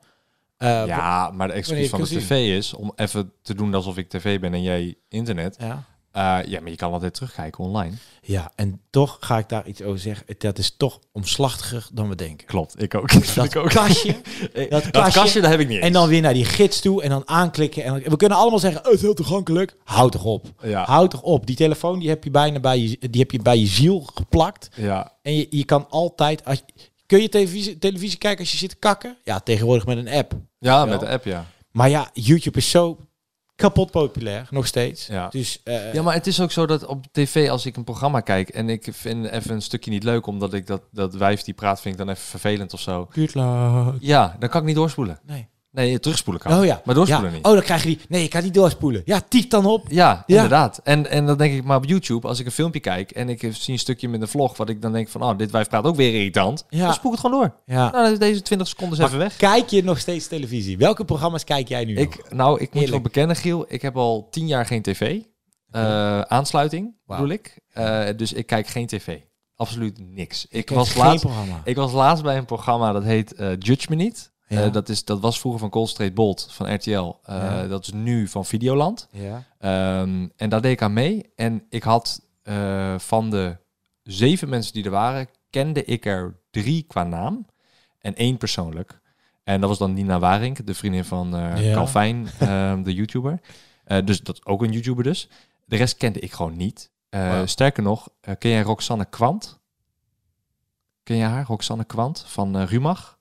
Speaker 2: eh, wa-
Speaker 1: Ja, maar de excuus
Speaker 2: wanneer
Speaker 1: van de
Speaker 2: je het
Speaker 1: tv is om even te doen alsof ik tv ben en jij internet.
Speaker 2: ja.
Speaker 1: Eh, ja, maar je kan altijd terugkijken online.
Speaker 2: ja, en toch ga ik daar iets over zeggen. Het- Dat is toch omslachtiger dan we denken.
Speaker 1: Klopt, ik ook. Dat, ik ook.
Speaker 2: kastje,
Speaker 1: Eh,
Speaker 2: dat
Speaker 1: dat
Speaker 2: kastje-
Speaker 1: kastje, dat heb ik niet eens.
Speaker 2: En dan weer naar die gids toe en dan aanklikken. En dan- we kunnen allemaal zeggen, het is heel toegankelijk. Houd toch op.
Speaker 1: Ja.
Speaker 2: Houd toch op. Die telefoon die heb je bijna bij je, die heb je, bij je ziel geplakt.
Speaker 1: Ja,
Speaker 2: En je, je kan altijd... Als, je- kun je televisie, televisie kijken als je zit te kakken? Ja, tegenwoordig met een app.
Speaker 1: ja met de app, ja.
Speaker 2: Maar ja, YouTube is zo kapot populair, nog steeds.
Speaker 1: Ja.
Speaker 2: Dus eh,
Speaker 1: Ja, maar het is ook zo dat op tv, als ik een programma kijk en ik vind even een stukje niet leuk, omdat ik dat, dat wijf die praat vind ik dan even vervelend of zo.
Speaker 2: duurt lang.
Speaker 1: Ja, dan kan ik niet doorspoelen.
Speaker 2: Nee.
Speaker 1: Nee, terugspoelen kan.
Speaker 2: Oh ja.
Speaker 1: Maar doorspoelen
Speaker 2: Ja.
Speaker 1: niet.
Speaker 2: Oh, dan krijg je die... Nee, ik kan niet doorspoelen. Ja, typ dan op.
Speaker 1: Ja,
Speaker 2: Ja.
Speaker 1: inderdaad. En, en dan denk ik, maar op YouTube, als ik een filmpje kijk en ik zie een stukje met een vlog, wat ik dan denk van, oh, dit wijf praat ook weer irritant,
Speaker 2: Ja.
Speaker 1: dan spoel ik het gewoon door.
Speaker 2: Ja.
Speaker 1: Nou, dan is deze 20 seconden is even weg.
Speaker 2: Kijk je nog steeds televisie? Welke programma's kijk jij nu nog?
Speaker 1: Ik, nou, ik moet
Speaker 2: Eerlijk.
Speaker 1: wel bekennen, Giel. Ik heb al tien jaar geen tv. Eh, aansluiting,
Speaker 2: Wauw.
Speaker 1: bedoel ik. Eh, dus ik kijk geen tv. Absoluut niks. Ik,
Speaker 2: Kijk
Speaker 1: was
Speaker 2: geen
Speaker 1: laatst,
Speaker 2: programma.
Speaker 1: ik was laatst bij een programma dat heet eh, Judge Me Niet. Eh,
Speaker 2: Ja.
Speaker 1: dat, is, dat was vroeger van Cold Straight Bolt van RTL. Eh,
Speaker 2: Ja.
Speaker 1: Dat is nu van Videoland.
Speaker 2: Ja.
Speaker 1: Ehm, en daar deed ik aan mee. En ik had eh, van de zeven mensen die er waren, kende ik er drie qua naam en één persoonlijk. En dat was dan Nina Waring, de vriendin van eh
Speaker 2: Ja.
Speaker 1: Calvin, ehm, de YouTuber. Eh, dus dat is ook een YouTuber dus. De rest kende ik gewoon niet. Eh,
Speaker 2: Wauw.
Speaker 1: Sterker nog, eh, ken jij Roxanne Kwant? Ken je haar, Roxanne Kwant van eh, Rumach?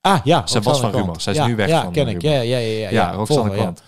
Speaker 2: Ah ja,
Speaker 1: Zij was van Rumach. Zij is nu weg
Speaker 2: ja,
Speaker 1: van
Speaker 2: ken
Speaker 1: eh,
Speaker 2: ik.
Speaker 1: Rumach.
Speaker 2: Ja, ja, ja, ja,
Speaker 1: Ja, Roxanne
Speaker 2: volgen, ja.
Speaker 1: Kwant.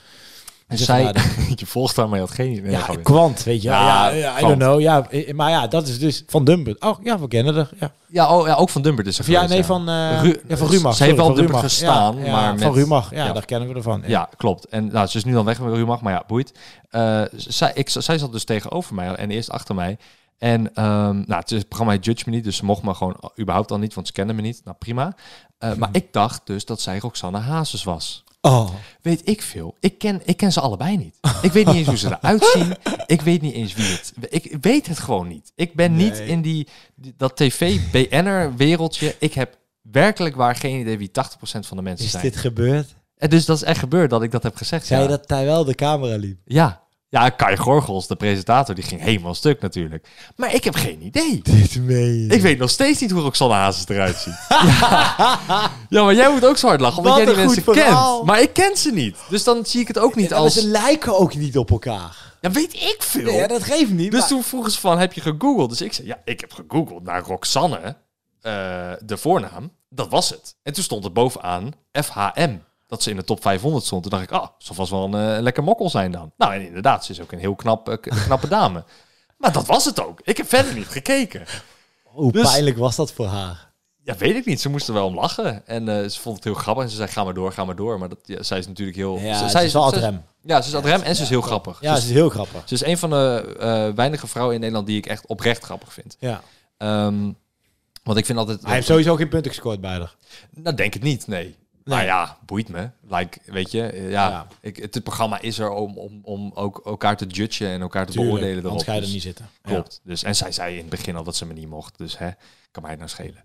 Speaker 1: En
Speaker 2: Zeg
Speaker 1: zij,
Speaker 2: maar dat-
Speaker 1: je volgt haar, maar je had geen idee. Nee,
Speaker 2: Ja,
Speaker 1: grapje.
Speaker 2: Kwant, weet je.
Speaker 1: Ja,
Speaker 2: Ja, ja, I
Speaker 1: Kwant.
Speaker 2: don't know. Ja, eh, maar ja, dat is dus van Dumber. Oh ja, we kennen er. Ja,
Speaker 1: Ja, oh, ja, ook van Dumber dus.
Speaker 2: Of ja nee, van, eh
Speaker 1: Ru-
Speaker 2: ja, van Rumach.
Speaker 1: Ze heeft
Speaker 2: sorry,
Speaker 1: wel
Speaker 2: van
Speaker 1: dubbel
Speaker 2: Rumach.
Speaker 1: gestaan,
Speaker 2: Ja, ja,
Speaker 1: maar
Speaker 2: van
Speaker 1: met-
Speaker 2: Rumach, ja,
Speaker 1: ja.
Speaker 2: daar kennen we ervan. Ja.
Speaker 1: Ja, klopt. En nou, ze is nu dan weg met Rumach, maar ja, boeit. Eh, z- zij, ik, z- zij zat dus tegenover mij en eerst achter mij. En ehm, nou, het, is, het programma heet Judge Me Niet, dus ze mocht me gewoon überhaupt al niet, want ze kenden me niet. Nou, prima. Eh, Maar ik dacht dus dat zij Roxanne Hazes was.
Speaker 2: Oh,
Speaker 1: Weet ik veel. Ik ken, ik ken ze allebei niet. Ik weet niet eens hoe ze eruit zien. Ik weet niet eens wie het... Ik weet het gewoon niet. Ik ben niet in die, die- dat tv-BN'er-wereldje. Ik heb werkelijk waar geen idee wie 80% van de mensen
Speaker 2: is
Speaker 1: zijn.
Speaker 2: dit gebeurd?
Speaker 1: En dus dat is echt gebeurd dat ik dat heb gezegd.
Speaker 2: Zei
Speaker 1: ja.
Speaker 2: je dat hij wel de camera liep?
Speaker 1: Ja. Ja, Kai Gorgels, de presentator, die ging helemaal stuk natuurlijk. Maar ik heb geen idee.
Speaker 2: Dit mee.
Speaker 1: Ik weet nog steeds niet hoe Roxanne Hazes eruit ziet. ja. ja, maar jij moet ook zo hard lachen, omdat
Speaker 2: Wat
Speaker 1: jij die
Speaker 2: een
Speaker 1: mensen
Speaker 2: goed verhaal.
Speaker 1: kent. Maar ik ken ze niet. Dus dan zie ik het ook niet
Speaker 2: als... Ze
Speaker 1: als...
Speaker 2: lijken ook niet op elkaar.
Speaker 1: Ja, weet ik veel.
Speaker 2: Nee, ja, dat geeft niet.
Speaker 1: Dus
Speaker 2: maar-
Speaker 1: toen vroegen ze van, heb je gegoogeld? Dus ik zei, ja, ik heb gegoogeld naar Roxanne, eh, de voornaam. Dat was het. En toen stond er bovenaan FHM. Dat ze in de top 500 stond. Toen dacht ik, ah, zal vast wel een eh, lekker mokkel zijn dan. Nou, en inderdaad, ze is ook een heel knap, eh, k- knappe dame. Maar dat was het ook. Ik heb verder niet gekeken.
Speaker 2: Hoe
Speaker 1: Dus-
Speaker 2: pijnlijk was dat voor haar?
Speaker 1: Ja, weet ik niet. Ze moesten wel om lachen. En eh, ze vond het heel grappig. En ze zei, ga maar door, ga maar door. Maar dat, ja, zij is natuurlijk heel...
Speaker 2: Ja,
Speaker 1: zij
Speaker 2: ze is wel ad
Speaker 1: ze-
Speaker 2: rem.
Speaker 1: Ja, ze is ad rem en ze is heel grappig.
Speaker 2: Ja,
Speaker 1: ze,
Speaker 2: het
Speaker 1: is,
Speaker 2: is heel grappig.
Speaker 1: ze is een van de eh, weinige vrouwen in Nederland die ik echt oprecht grappig vind.
Speaker 2: Ja.
Speaker 1: Ehm, want ik vind altijd...
Speaker 2: Hij heeft sowieso geen punten gescoord bij haar.
Speaker 1: Nou, denk het niet, nee. Nou ja, boeit me. Like, weet je, eh, ja,
Speaker 2: Ja.
Speaker 1: Ik, het, het programma is er om, om, om ook elkaar te judgen en elkaar te beoordelen.
Speaker 2: Tuurlijk,
Speaker 1: erop.
Speaker 2: anders ga je er
Speaker 1: Dus-
Speaker 2: niet zitten.
Speaker 1: Klopt. Dus, en zij zei in het begin al dat ze me niet mocht. Dus hè, kan mij het nou schelen.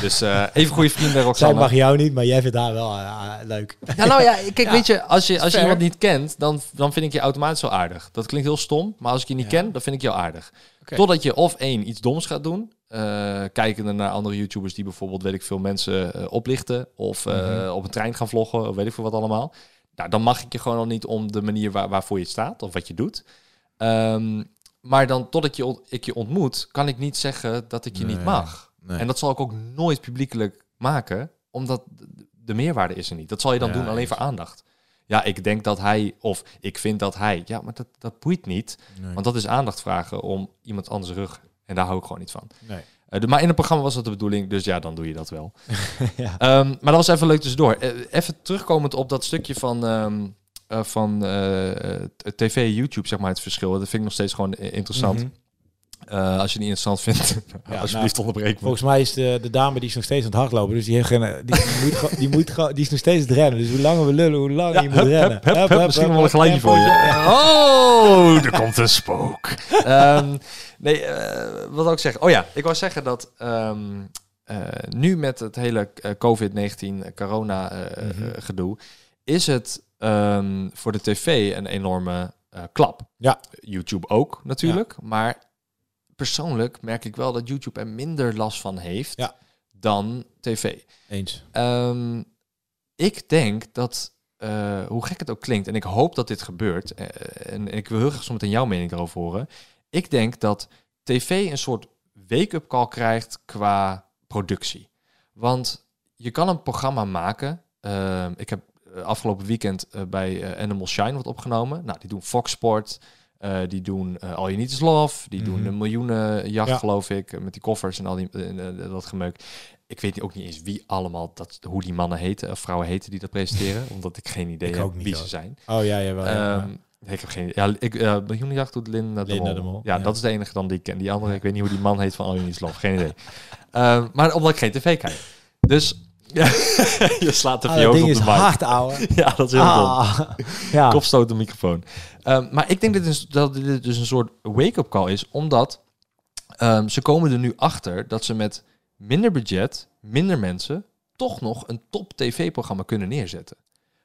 Speaker 1: Dus eh, even goede vrienden,
Speaker 2: Zij
Speaker 1: Roxanne.
Speaker 2: mag jou niet, maar jij vindt haar wel eh, eh, leuk.
Speaker 1: Ja, nou ja, kijk, weet je, als je, als je
Speaker 2: fair.
Speaker 1: iemand niet kent, dan, dan vind ik je automatisch wel aardig. Dat klinkt heel stom, maar als ik je niet ken, dan vind ik jou aardig.
Speaker 2: Oké.
Speaker 1: Totdat je of één iets doms gaat doen, eh kijkende naar andere YouTubers die bijvoorbeeld, weet ik veel, mensen eh, oplichten of eh,
Speaker 2: Mhm.
Speaker 1: op een trein gaan vloggen, of weet ik veel wat allemaal. Nou, dan mag ik je gewoon al niet om de manier waar, waarvoor je staat of wat je doet. Ehm, maar dan, totdat je, on- ik je ontmoet, kan ik niet zeggen dat ik je niet
Speaker 2: Nee,
Speaker 1: mag.
Speaker 2: nee.
Speaker 1: En dat zal ik ook nooit publiekelijk maken, omdat de meerwaarde is er niet. Dat zal je dan
Speaker 2: Ja,
Speaker 1: doen alleen
Speaker 2: eens.
Speaker 1: voor aandacht. Ja, ik denk dat hij, of ik vind dat hij. Ja, maar dat, dat boeit niet.
Speaker 2: Nee.
Speaker 1: Want dat is aandacht vragen om iemand anders rug. En daar hou ik gewoon niet van.
Speaker 2: Nee.
Speaker 1: Eh, de- maar in het programma was dat de bedoeling, dus ja, dan doe je dat wel.
Speaker 2: Ja.
Speaker 1: Ehm, maar dat was even leuk tussendoor. Eh, even terugkomend op dat stukje van, ehm, eh, van eh, eh, tv en YouTube, zeg maar, het verschil. Dat vind ik nog steeds gewoon eh, interessant.
Speaker 2: Mhm.
Speaker 1: Eh, als je het niet interessant vindt,
Speaker 2: nou,
Speaker 1: alsjeblieft onderbreek me.
Speaker 2: Volgens mij is de, de dame die is nog steeds aan het hardlopen. Dus die, heeft geen, die, die moet, gewoon- die, moet, gewoon- die is nog steeds aan het rennen. Dus hoe langer we lullen, hoe langer je moet rennen.
Speaker 1: Hup, hup, hup, misschien wel een geluidje voor
Speaker 2: tempootje.
Speaker 1: je. Oh, er komt een spook. Ehm, nee, eh, wat wou ik zeggen? Oh ja, ik wou zeggen dat ehm, eh, nu met het hele eh, COVID-19 corona eh, eh, gedoe... is het ehm, voor de tv een enorme eh, klap.
Speaker 2: Ja.
Speaker 1: YouTube ook natuurlijk, maar persoonlijk merk ik wel dat YouTube er minder last van heeft...
Speaker 2: Ja.
Speaker 1: dan tv.
Speaker 2: Eens.
Speaker 1: Ehm, ik denk dat, eh, hoe gek het ook klinkt, en ik hoop dat dit gebeurt, eh, en ik wil heel graag zo meteen jouw mening daarover horen. Ik denk dat tv een soort wake-up call krijgt qua productie. Want je kan een programma maken. Ehm, ik heb eh, afgelopen weekend eh, bij eh, Animal Shine wat opgenomen. Nou, die doen Fox Sport. eh, die doen eh, All You Need Is Love. Die doen
Speaker 2: Mhm.
Speaker 1: een miljoenenjacht,
Speaker 2: Ja.
Speaker 1: geloof ik. eh, Met die koffers en al die, eh, eh, dat gemeuk. Ik weet ook niet eens wie allemaal, dat, hoe die mannen heten of vrouwen heten die dat presenteren. omdat ik geen idee
Speaker 2: Ik
Speaker 1: heb
Speaker 2: ook niet,
Speaker 1: wie ze
Speaker 2: hoor.
Speaker 1: zijn.
Speaker 2: Oh ja, jawel. ja.
Speaker 1: Ehm, nee, ik heb geen Ja, ik, eh miljoenenjacht doet Linda, de
Speaker 2: Linda
Speaker 1: Mol.
Speaker 2: de Mol,
Speaker 1: Ja,
Speaker 2: ja.
Speaker 1: dat is de enige dan die ik ken. Die andere, ik weet niet hoe die man heet van Alien Love. Geen idee. Ehm, maar omdat ik geen tv kijk. Dus ja, je slaat de
Speaker 2: Ah,
Speaker 1: viool
Speaker 2: dat ding
Speaker 1: op
Speaker 2: is
Speaker 1: de mic.
Speaker 2: hard, ouwe.
Speaker 1: Ja, dat is heel dom.
Speaker 2: Ah, ja.
Speaker 1: Kopstoot de microfoon. Ehm, maar ik denk dat dit, is- dat dit dus een soort wake-up call is. Omdat ehm, ze komen er nu achter dat ze met minder budget, minder mensen... toch nog een top tv-programma kunnen neerzetten.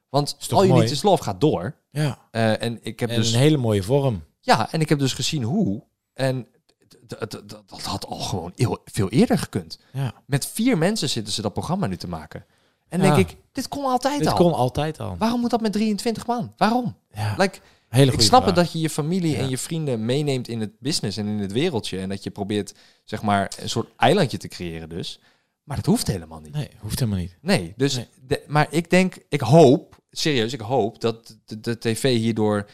Speaker 1: Want
Speaker 2: toch
Speaker 1: All You
Speaker 2: mooi?
Speaker 1: Need Is Love gaat door.
Speaker 2: ja.
Speaker 1: Eh, en ik heb
Speaker 2: En
Speaker 1: dus
Speaker 2: een hele mooie vorm.
Speaker 1: ja, en ik heb dus gezien hoe. En d- d- d- d- dat had al gewoon heel, veel eerder gekund.
Speaker 2: Ja.
Speaker 1: Met vier mensen zitten ze dat programma nu te maken. En dan
Speaker 2: Ja.
Speaker 1: denk ik, dit kon altijd
Speaker 2: Dit
Speaker 1: al.
Speaker 2: kon altijd al.
Speaker 1: Waarom moet dat met 23 man? Waarom?
Speaker 2: Ja.
Speaker 1: Like,
Speaker 2: Hele
Speaker 1: ik
Speaker 2: goede
Speaker 1: snap het
Speaker 2: vraag.
Speaker 1: dat je je familie en
Speaker 2: Ja.
Speaker 1: je vrienden meeneemt in het business en in het wereldje. En dat je probeert, zeg maar, een soort eilandje te creëren dus. Maar dat hoeft helemaal niet.
Speaker 2: Nee, hoeft helemaal niet.
Speaker 1: Nee, dus
Speaker 2: Nee.
Speaker 1: de- maar ik denk, ik hoop, serieus, ik hoop dat de, de tv hierdoor,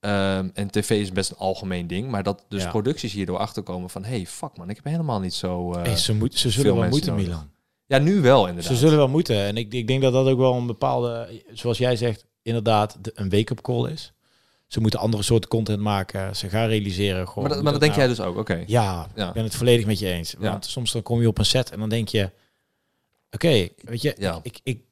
Speaker 1: ehm, en tv is best een algemeen ding, maar dat dus
Speaker 2: Ja.
Speaker 1: producties hierdoor achterkomen van, hey, fuck man, ik heb helemaal niet zo. eh,
Speaker 2: Hey, ze, moet, ze
Speaker 1: veel
Speaker 2: zullen wel
Speaker 1: mensen
Speaker 2: moeten,
Speaker 1: nodig.
Speaker 2: Milan.
Speaker 1: ja, nu wel inderdaad.
Speaker 2: Ze zullen wel moeten. En ik, ik denk dat dat ook wel een bepaalde, zoals jij zegt, inderdaad de- een wake-up call is. Ze moeten andere soorten content maken. Ze gaan realiseren. Gewoon,
Speaker 1: maar dat,
Speaker 2: hoe
Speaker 1: maar dat denk
Speaker 2: nou-
Speaker 1: jij dus ook, oké.
Speaker 2: Ja,
Speaker 1: Ja.
Speaker 2: ik ben het volledig met je eens.
Speaker 1: Ja.
Speaker 2: Want soms dan kom je op een set en dan denk je... Oké, weet je,
Speaker 1: Ja.
Speaker 2: ik, ik,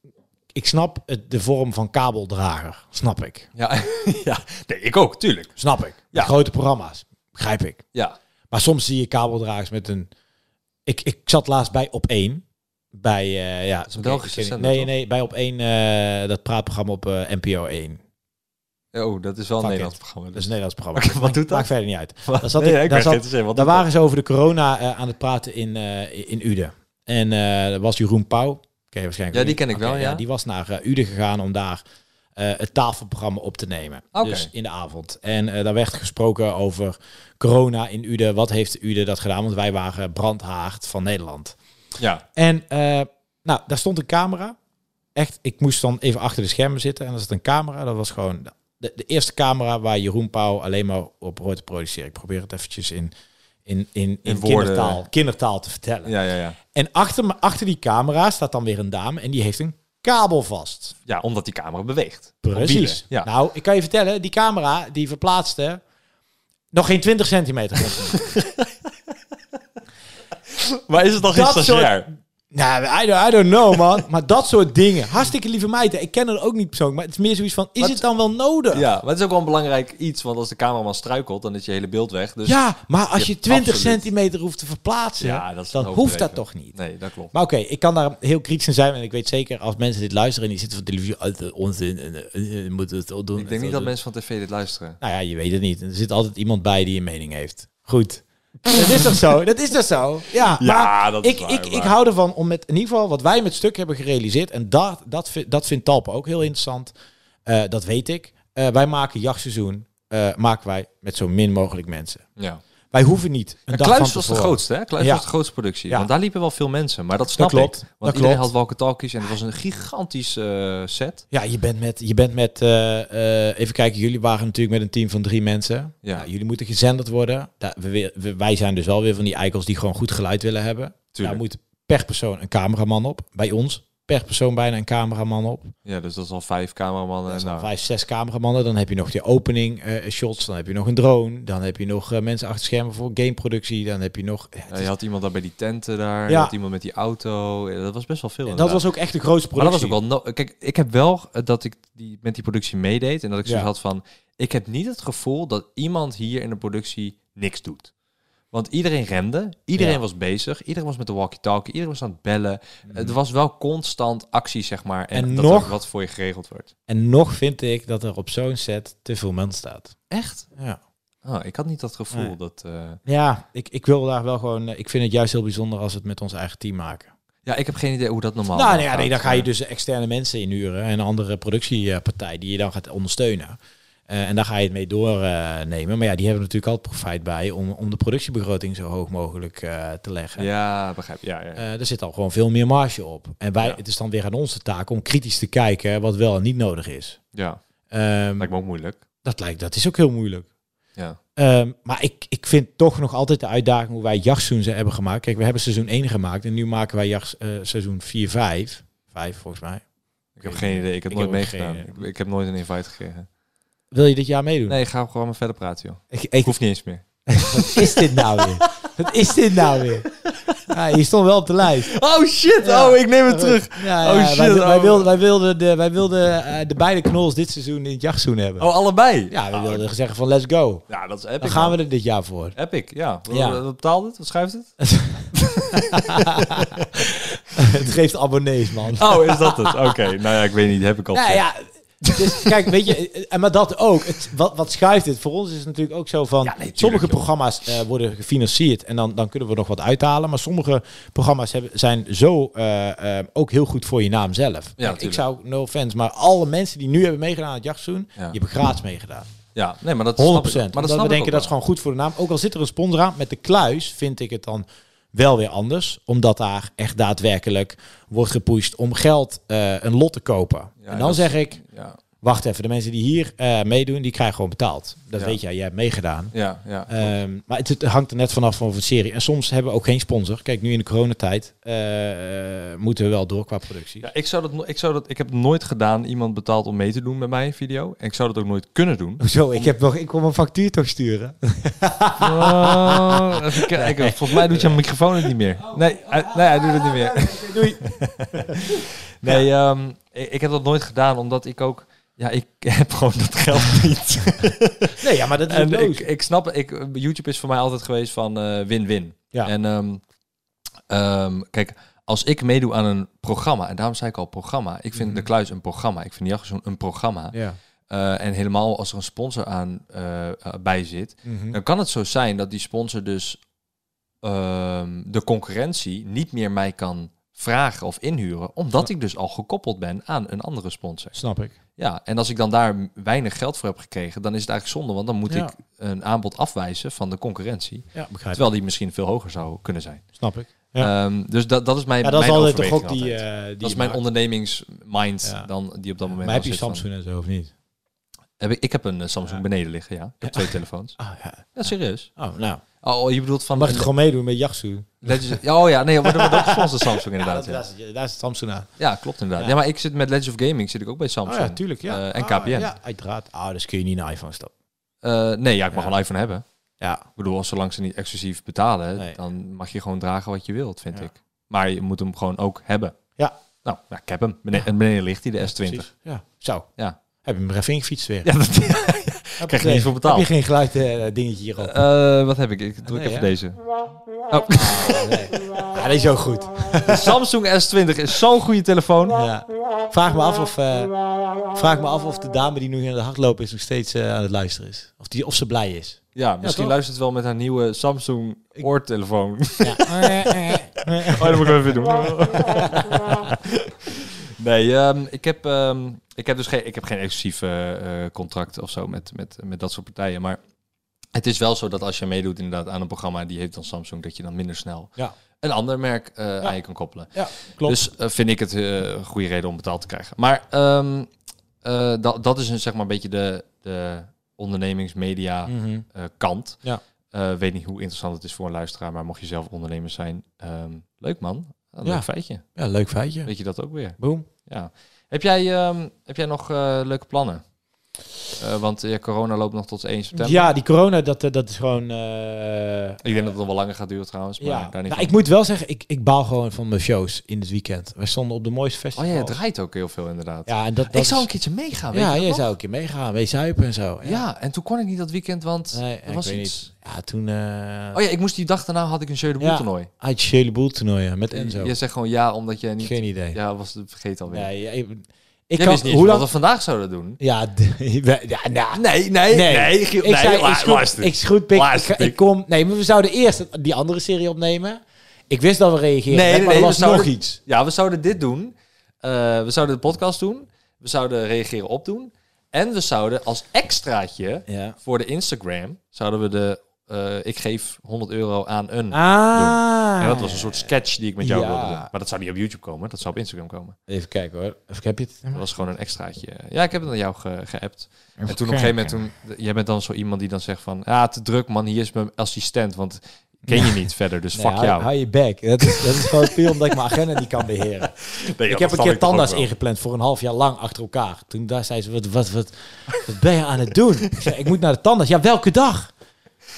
Speaker 2: ik snap het, de vorm van kabeldrager. Snap ik.
Speaker 1: Ja, ja, nee, ik ook, tuurlijk.
Speaker 2: Snap ik.
Speaker 1: Ja.
Speaker 2: De grote programma's. Begrijp ik.
Speaker 1: Ja,
Speaker 2: Maar soms zie je kabeldragers met een... Ik, ik zat laatst bij op één Bij, eh, ja,
Speaker 1: is een Belgische
Speaker 2: ik- ik-
Speaker 1: zender,
Speaker 2: Nee,
Speaker 1: toch?
Speaker 2: nee, bij op één eh, dat praatprogramma op eh, NPO 1.
Speaker 1: oh, dat is wel een
Speaker 2: Fuck
Speaker 1: Nederlands
Speaker 2: it.
Speaker 1: programma.
Speaker 2: Dat
Speaker 1: dus.
Speaker 2: is een Nederlands programma.
Speaker 1: Oké, wat
Speaker 2: Maakt-
Speaker 1: doet dat?
Speaker 2: Maakt verder niet uit.
Speaker 1: Wat?
Speaker 2: Daar, zat
Speaker 1: Nee,
Speaker 2: ik-
Speaker 1: ja, ik
Speaker 2: daar,
Speaker 1: ben
Speaker 2: zat-
Speaker 1: geïnteresseerd, wat
Speaker 2: daar
Speaker 1: doet
Speaker 2: waren ze over de corona eh, aan het praten in, eh, in Uden. En eh dat was Jeroen Pauw. Ken je waarschijnlijk
Speaker 1: Ja, die
Speaker 2: niet.
Speaker 1: ken ik
Speaker 2: Oké,
Speaker 1: wel, ja.
Speaker 2: Die was naar eh, Uden gegaan om daar eh, het tafelprogramma op te nemen.
Speaker 1: Oké.
Speaker 2: Dus in de avond. En eh, daar werd gesproken over corona in Uden. Wat heeft Uden dat gedaan? Want wij waren brandhaard van Nederland.
Speaker 1: Ja,
Speaker 2: En eh, nou, daar stond een camera. Echt, ik moest dan even achter de schermen zitten. En er zat een camera. Dat was gewoon de, de, de eerste camera waar Jeroen Pauw alleen maar op hoort te produceren. Ik probeer het eventjes in, in, in, in,
Speaker 1: woorden. eh.
Speaker 2: kindertaal, kindertaal te vertellen.
Speaker 1: Ja, ja, ja.
Speaker 2: En achter, me- achter die camera staat dan weer een dame en die heeft een kabel vast.
Speaker 1: Ja, omdat die camera beweegt.
Speaker 2: Precies.
Speaker 1: Op wielen, Ja.
Speaker 2: Nou, ik kan je vertellen, die camera die verplaatste nog geen 20 centimeter.
Speaker 1: maar is het dan geen
Speaker 2: Dat
Speaker 1: stagiair?
Speaker 2: nou, I don't, I don't know, man. Maar dat soort dingen. Hartstikke lieve meiden. Ik ken het ook niet persoonlijk, maar het is meer zoiets van, is
Speaker 1: Maar-
Speaker 2: het dan wel nodig?
Speaker 1: Ja, maar het is ook wel een belangrijk iets, want als de cameraman struikelt, dan is je hele beeld weg. Dus
Speaker 2: Ja, maar als
Speaker 1: Ja,
Speaker 2: je 20
Speaker 1: absoluut.
Speaker 2: centimeter hoeft te verplaatsen,
Speaker 1: Ja, dat is
Speaker 2: dan
Speaker 1: een
Speaker 2: hoeft dat
Speaker 1: overdreven.
Speaker 2: toch niet.
Speaker 1: Nee, dat klopt.
Speaker 2: Maar oké, ik kan daar heel kritisch in zijn. En ik weet zeker, als mensen dit luisteren en die zitten van televisie, uit de onzin, en, eh, eh, moeten het al doen.
Speaker 1: ik denk
Speaker 2: het
Speaker 1: niet
Speaker 2: al
Speaker 1: dat
Speaker 2: doen.
Speaker 1: mensen van tv dit luisteren.
Speaker 2: Nou ja, je weet het niet. Er zit altijd iemand bij die een mening heeft. Goed. dat is toch zo? Dat is toch zo? Ja,
Speaker 1: Ja,
Speaker 2: maar
Speaker 1: dat is
Speaker 2: ik,
Speaker 1: waar,
Speaker 2: ik, ik
Speaker 1: maar-
Speaker 2: hou ervan om met, in ieder geval, wat wij met stuk hebben gerealiseerd, en dat, dat, vind- dat vindt Talpa ook heel interessant, eh, dat weet ik. Eh, wij maken jachtseizoen, eh, maken wij met zo min mogelijk mensen.
Speaker 1: Ja.
Speaker 2: Wij hoeven niet een
Speaker 1: En
Speaker 2: dag
Speaker 1: Kluis
Speaker 2: van
Speaker 1: was de
Speaker 2: tevoren.
Speaker 1: grootste, hè? Kluis
Speaker 2: Ja.
Speaker 1: was de grootste productie.
Speaker 2: Ja.
Speaker 1: Want daar liepen wel veel mensen, maar dat snap
Speaker 2: klopt.
Speaker 1: ik. Want
Speaker 2: Dat
Speaker 1: iedereen
Speaker 2: klopt.
Speaker 1: had walkie-talkies en het was een gigantisch eh, set.
Speaker 2: Ja, je bent met, je bent met eh, eh, even kijken, jullie waren natuurlijk met een team van drie mensen.
Speaker 1: Ja.
Speaker 2: Nou, jullie moeten gezenderd worden. Daar, we, weer- we- wij zijn dus wel weer van die eikels die gewoon goed geluid willen hebben.
Speaker 1: Tuurlijk.
Speaker 2: Daar moet per persoon een cameraman op. Bij ons per persoon bijna een cameraman op.
Speaker 1: Ja, dus dat is al vijf cameramannen.
Speaker 2: Dat
Speaker 1: en
Speaker 2: zijn
Speaker 1: nou,
Speaker 2: vijf, zes cameramannen. Dan heb je nog die opening eh, shots. Dan heb je nog een drone. Dan heb je nog eh, mensen achter schermen voor gameproductie. Dan heb je nog... ja, het
Speaker 1: Ja,
Speaker 2: is-
Speaker 1: je had iemand daar bij die tenten daar, je
Speaker 2: Ja.
Speaker 1: had iemand met die auto. Ja, Dat was best wel veel.
Speaker 2: dat
Speaker 1: inderdaad.
Speaker 2: was ook echt de grootste
Speaker 1: Maar dat
Speaker 2: productie.
Speaker 1: was ook wel... no- Kijk, ik heb wel eh, dat ik die, met die productie meedeed en dat ik zoiets
Speaker 2: Ja.
Speaker 1: had van... Ik heb niet het gevoel dat iemand hier in de productie niks doet. Want iedereen rende, iedereen
Speaker 2: Ja. Mhm.
Speaker 1: was bezig, iedereen was met de walkie-talkie, iedereen was aan het bellen. Er was wel constant actie, zeg maar. En,
Speaker 2: En
Speaker 1: dat
Speaker 2: nog-
Speaker 1: er wat voor je geregeld wordt.
Speaker 2: En nog vind ik dat er op zo'n set te veel mensen staat.
Speaker 1: Echt?
Speaker 2: Ja.
Speaker 1: Ah, ik had niet dat gevoel
Speaker 2: Nee.
Speaker 1: dat... eh,
Speaker 2: Ja, ik, ik wil daar wel gewoon. eh, Ik vind het juist heel bijzonder als we het met ons eigen team maken.
Speaker 1: Ja, ik heb geen idee hoe dat normaal
Speaker 2: nou, nee, ja,
Speaker 1: gaat, eh,
Speaker 2: nee, dan ga je
Speaker 1: maar-
Speaker 2: dus externe mensen inhuren en een andere productiepartij die je dan gaat ondersteunen. Eh, en daar ga je het mee doornemen. maar ja, die hebben natuurlijk altijd profijt bij om, om de productiebegroting zo hoog mogelijk eh, te leggen.
Speaker 1: Ja, begrijp. Ja, ja, ja.
Speaker 2: Eh, er zit al gewoon veel meer marge op. En wij,
Speaker 1: Ja.
Speaker 2: het is dan weer aan onze taak om kritisch te kijken wat wel en niet nodig is.
Speaker 1: ja.
Speaker 2: Ehm,
Speaker 1: Lijkt me ook moeilijk.
Speaker 2: dat, lijkt, dat is ook heel moeilijk.
Speaker 1: Ja.
Speaker 2: Ehm, maar ik, ik vind toch nog altijd de uitdaging hoe wij jachtseizoen hebben gemaakt. Kijk, we hebben seizoen 1 gemaakt en nu maken wij eh, jachtseizoen 4, 5. 5 volgens mij.
Speaker 1: Ik heb geen idee. Ik heb
Speaker 2: Ik
Speaker 1: nooit
Speaker 2: heb ook geen
Speaker 1: meegedaan.
Speaker 2: idee.
Speaker 1: Ik, ik heb nooit een invite gekregen.
Speaker 2: Wil je dit jaar meedoen?
Speaker 1: Nee, ga gewoon maar verder praten, joh.
Speaker 2: Ik,
Speaker 1: Ik
Speaker 2: ik,
Speaker 1: hoef niet eens meer.
Speaker 2: wat is dit nou weer? Wat is dit nou weer? Ja, je stond wel op de lijst.
Speaker 1: Oh shit!
Speaker 2: Ja.
Speaker 1: ik neem
Speaker 2: Ja,
Speaker 1: Oh,
Speaker 2: ja,
Speaker 1: shit,
Speaker 2: Wij, wij
Speaker 1: oh.
Speaker 2: wilden, wij wilden, de, wij wilden eh, de beide knols dit seizoen in het jachtseizoen hebben.
Speaker 1: Oh, allebei?
Speaker 2: Ja, we
Speaker 1: Oh,
Speaker 2: wilden zeggen van let's go.
Speaker 1: Ja, dat is
Speaker 2: Dan
Speaker 1: epic.
Speaker 2: gaan
Speaker 1: man.
Speaker 2: we er dit jaar voor.
Speaker 1: Epic, ja. Wat,
Speaker 2: Ja.
Speaker 1: wat betaalt het? Wat schuift het?
Speaker 2: het geeft abonnees, man.
Speaker 1: Oh, is dat het? Oké, nou ja, ik weet niet. Heb ik al
Speaker 2: Nou
Speaker 1: gezegd.
Speaker 2: ja, dus, kijk, weet je, eh, en maar dat ook. Het, wat, wat schuift het? Voor ons is het natuurlijk ook zo
Speaker 1: Ja,
Speaker 2: van,
Speaker 1: nee, tuurlijk,
Speaker 2: sommige
Speaker 1: joh.
Speaker 2: programma's eh, worden gefinancierd en dan, dan kunnen we nog wat uithalen. Maar sommige programma's hebben, zijn zo eh, eh, ook heel goed voor je naam zelf. kijk, ik
Speaker 1: tuurlijk.
Speaker 2: zou, no offense, maar alle mensen die nu hebben meegedaan aan het jachtseizoen,
Speaker 1: Ja.
Speaker 2: die hebben gratis meegedaan. 100%.
Speaker 1: Ja, nee, maar dat snap ik. Maar
Speaker 2: Maar
Speaker 1: dat
Speaker 2: dat we
Speaker 1: snap ik
Speaker 2: denken
Speaker 1: ook
Speaker 2: dat is
Speaker 1: wel.
Speaker 2: gewoon goed voor de naam. Ook al zit er een sponsor aan, met de kluis vind ik het dan wel weer anders. Omdat daar echt daadwerkelijk wordt gepusht om geld eh, een lot te kopen.
Speaker 1: Ja,
Speaker 2: en
Speaker 1: dat
Speaker 2: dan
Speaker 1: is-
Speaker 2: zeg ik...
Speaker 1: Ja,
Speaker 2: Wacht even, de mensen die hier eh, meedoen, die krijgen gewoon betaald. Dat
Speaker 1: Ja.
Speaker 2: weet jij, jij hebt meegedaan.
Speaker 1: ja, ja.
Speaker 2: Ehm, maar het, het hangt er net vanaf van een serie. En soms hebben we ook geen sponsor. Kijk, nu in de coronatijd eh, eh, moeten we wel door qua productie.
Speaker 1: Ja, ik zou dat, no- ik zou dat, ik heb nooit gedaan. Iemand betaalt om mee te doen met mij een video. En ik zou dat ook nooit kunnen doen.
Speaker 2: Hoezo? Ik, heb nog, ik kon mijn factuur toch sturen?
Speaker 1: Oh, even kijken. Volgens mij doet je microfoon het niet meer. Nee, hij, nee, hij doet het niet meer.
Speaker 2: Doei.
Speaker 1: Nee, ehm, ik, ik heb dat nooit gedaan, omdat ik ook... Ja, ik heb gewoon dat geld niet.
Speaker 2: Nee, ja, maar dat is
Speaker 1: En
Speaker 2: een
Speaker 1: ik, ik snap... Ik, YouTube is voor mij altijd geweest van eh, win-win.
Speaker 2: Ja.
Speaker 1: En ehm, ehm, kijk, als ik meedoe aan een programma... En daarom zei ik al programma. Ik vind De Kluis een programma. Ik vind Jachtseizoen een programma.
Speaker 2: Mhm. Ja.
Speaker 1: Eh, en helemaal als er een sponsor aan eh, eh, bij zit...
Speaker 2: Mhm.
Speaker 1: Dan kan het zo zijn dat die sponsor dus ehm, de concurrentie niet meer mij kan vragen of inhuren, omdat ik dus al gekoppeld ben aan een andere sponsor.
Speaker 2: Snap ik.
Speaker 1: Ja, en als ik dan daar weinig geld voor heb gekregen, dan is het eigenlijk zonde, want dan moet
Speaker 2: Ja.
Speaker 1: ik een aanbod afwijzen van de concurrentie,
Speaker 2: Ja, begrijp ik.
Speaker 1: terwijl die misschien veel hoger zou kunnen zijn.
Speaker 2: Snap ik. Ja.
Speaker 1: Ehm, dus dat, dat is mijn
Speaker 2: Ja, dat is
Speaker 1: mijn
Speaker 2: altijd de
Speaker 1: overweging
Speaker 2: gok die,
Speaker 1: altijd.
Speaker 2: eh, die
Speaker 1: dat is
Speaker 2: je
Speaker 1: mijn
Speaker 2: maakt.
Speaker 1: ondernemingsmind
Speaker 2: Ja.
Speaker 1: dan die op dat moment.
Speaker 2: Maar heb
Speaker 1: al
Speaker 2: je
Speaker 1: zit van-
Speaker 2: Samsung en zo of niet?
Speaker 1: Heb ik, ik heb een eh, Samsung beneden liggen, ja. Ik heb twee telefoons.
Speaker 2: Oh, ja.
Speaker 1: Ah, Ja, serieus.
Speaker 2: oh nou.
Speaker 1: Oh, je bedoelt van...
Speaker 2: Mag het gewoon meedoen met Yasu?
Speaker 1: Legends- ja, oh ja, nee, maar dat dat is van de Samsung inderdaad. Ja,
Speaker 2: daar, zit, daar zit Samsung aan.
Speaker 1: Ja, klopt inderdaad. Ja. maar ik zit met Legends of Gaming zit ik ook bij
Speaker 2: Oh
Speaker 1: Samsung.
Speaker 2: ja, tuurlijk. Ja.
Speaker 1: Eh, en
Speaker 2: Ah,
Speaker 1: KPN.
Speaker 2: ja, uiteraard. Ah, dus kun je niet naar iPhone stappen.
Speaker 1: Eh, nee, ja, ik mag
Speaker 2: Ja.
Speaker 1: een iPhone hebben.
Speaker 2: Ja.
Speaker 1: Ik bedoel, zolang ze niet exclusief betalen,
Speaker 2: Nee.
Speaker 1: dan mag je gewoon dragen wat je wilt, vind
Speaker 2: Ja.
Speaker 1: ik. Maar je moet hem gewoon ook hebben.
Speaker 2: Ja.
Speaker 1: Nou, ja, ik heb hem. Beneden, en beneden ligt hij, de S20.
Speaker 2: Precies. Ja. Zo.
Speaker 1: Ja.
Speaker 2: Heb je hem er even ingefietst weer.
Speaker 1: Ja, dat
Speaker 2: Heb
Speaker 1: krijg je
Speaker 2: eh,
Speaker 1: niets voor betaald.
Speaker 2: Heb je geen geluid eh, dingetje hierop?
Speaker 1: Eh, wat heb ik? Ik druk
Speaker 2: Nee,
Speaker 1: even
Speaker 2: hè?
Speaker 1: deze. Oh.
Speaker 2: Nee. Ja, dat is ook goed.
Speaker 1: De Samsung S20 is zo'n goede telefoon.
Speaker 2: Ja. Vraag me af of... eh, vraag me af of de dame die nu in de hardloop is nog steeds eh, aan het luisteren is. Of, die, of ze blij is.
Speaker 1: Ja, misschien
Speaker 2: toch?
Speaker 1: luistert ze wel met haar nieuwe Samsung oortelefoon.
Speaker 2: Ja.
Speaker 1: Oh, dat moet ik even doen. nee, ehm, ik, heb, ehm, ik heb dus geen, ik heb geen exclusief eh, eh, contract of zo met, met, met dat soort partijen. Maar het is wel zo dat als je meedoet inderdaad aan een programma, die heeft dan Samsung, dat je dan minder snel
Speaker 2: Ja.
Speaker 1: een ander merk eh, aan je kan koppelen.
Speaker 2: ja, klopt.
Speaker 1: Dus eh, vind ik het eh, een goede reden om betaald te krijgen. Maar ehm, eh, dat, dat is een, zeg maar een beetje de, de ondernemingsmedia
Speaker 2: Mhm.
Speaker 1: eh, kant.
Speaker 2: Ja.
Speaker 1: Eh, weet niet hoe interessant het is voor een luisteraar, maar mocht je zelf ondernemer zijn, ehm, leuk man. Een
Speaker 2: Ja.
Speaker 1: leuk feitje.
Speaker 2: Ja, leuk feitje.
Speaker 1: Weet je dat ook weer?
Speaker 2: Boom.
Speaker 1: Ja. Heb jij, ehm, heb jij nog eh, leuke plannen? Eh, want ja, corona loopt nog tot 1 september.
Speaker 2: Ja, die corona, dat, eh, dat is gewoon... eh,
Speaker 1: Ik denk dat het nog wel langer gaat duren trouwens. Maar
Speaker 2: ja,
Speaker 1: daar niet
Speaker 2: nou,
Speaker 1: van.
Speaker 2: ik moet wel zeggen, ik, ik baal gewoon van mijn shows in het weekend. Wij stonden op de mooiste
Speaker 1: Oh
Speaker 2: festivals.
Speaker 1: ja, het draait ook heel veel inderdaad.
Speaker 2: Ja, en dat, dat
Speaker 1: ik zou
Speaker 2: is-
Speaker 1: een keertje meegaan. Weet
Speaker 2: Ja,
Speaker 1: je dat
Speaker 2: jij
Speaker 1: nog?
Speaker 2: zou een keer meegaan, mee zuipen en zo.
Speaker 1: Ja. en toen kon ik niet dat weekend, want
Speaker 2: Nee,
Speaker 1: er
Speaker 2: ik
Speaker 1: was
Speaker 2: weet
Speaker 1: iets.
Speaker 2: Ja, toen eh
Speaker 1: Oh ja, ik moest die dag daarna had ik een Jeu de Boel
Speaker 2: Ja,
Speaker 1: toernooi.
Speaker 2: had je hele boel toernooien met
Speaker 1: Je,
Speaker 2: Enzo.
Speaker 1: je zegt gewoon ja, omdat je niet...
Speaker 2: Geen idee.
Speaker 1: Ja, was het vergeet alweer.
Speaker 2: Nee, ja, ik, ik
Speaker 1: Jij
Speaker 2: kan,
Speaker 1: wist niet
Speaker 2: hoe
Speaker 1: eens wat
Speaker 2: lang?
Speaker 1: we vandaag zouden doen.
Speaker 2: Ja, d- we- ja, nou,
Speaker 1: Nee, nee,
Speaker 2: nee.
Speaker 1: Giel,
Speaker 2: ik zei, ik schroep-
Speaker 1: luister.
Speaker 2: ik schroep pik, ik,
Speaker 1: Laatste
Speaker 2: ga- ik
Speaker 1: pik.
Speaker 2: kom. Nee, maar we zouden eerst die andere serie opnemen. Ik wist dat we reageerden,
Speaker 1: Nee,
Speaker 2: hè,
Speaker 1: nee,
Speaker 2: maar er
Speaker 1: nee,
Speaker 2: was
Speaker 1: we zouden-
Speaker 2: nog iets.
Speaker 1: Ja, we zouden dit doen. Eh, we zouden de podcast doen. We zouden reageren op doen. En we zouden als extraatje
Speaker 2: Ja.
Speaker 1: voor de Instagram... zouden we de... eh, ik geef 100 euro aan een...
Speaker 2: Ah.
Speaker 1: En dat was een soort sketch die ik met jou
Speaker 2: Ja.
Speaker 1: wilde doen. Maar dat zou niet op YouTube komen. Dat zou op Instagram komen.
Speaker 2: Even kijken hoor. Even, heb je het?
Speaker 1: Dat was gewoon een extraatje. Ja, ik heb het aan jou ge- geappt. en toen op een gegeven moment, toen, jij bent dan zo iemand die dan zegt van... Ja, te druk man, hier is mijn assistent, want ken je niet verder, dus
Speaker 2: Nee,
Speaker 1: fuck
Speaker 2: hou,
Speaker 1: jou.
Speaker 2: hou je bek. Dat is, dat is gewoon puur omdat ik mijn agenda niet kan beheren.
Speaker 1: Nee, ja, dat
Speaker 2: ik heb een keer
Speaker 1: snap ik toch
Speaker 2: tandarts
Speaker 1: ook wel.
Speaker 2: ingepland voor een half jaar lang achter elkaar. Toen daar zei ze, wat, wat, wat, wat ben je aan het doen? Ik zei, ik moet naar de tandarts. Ja, welke dag?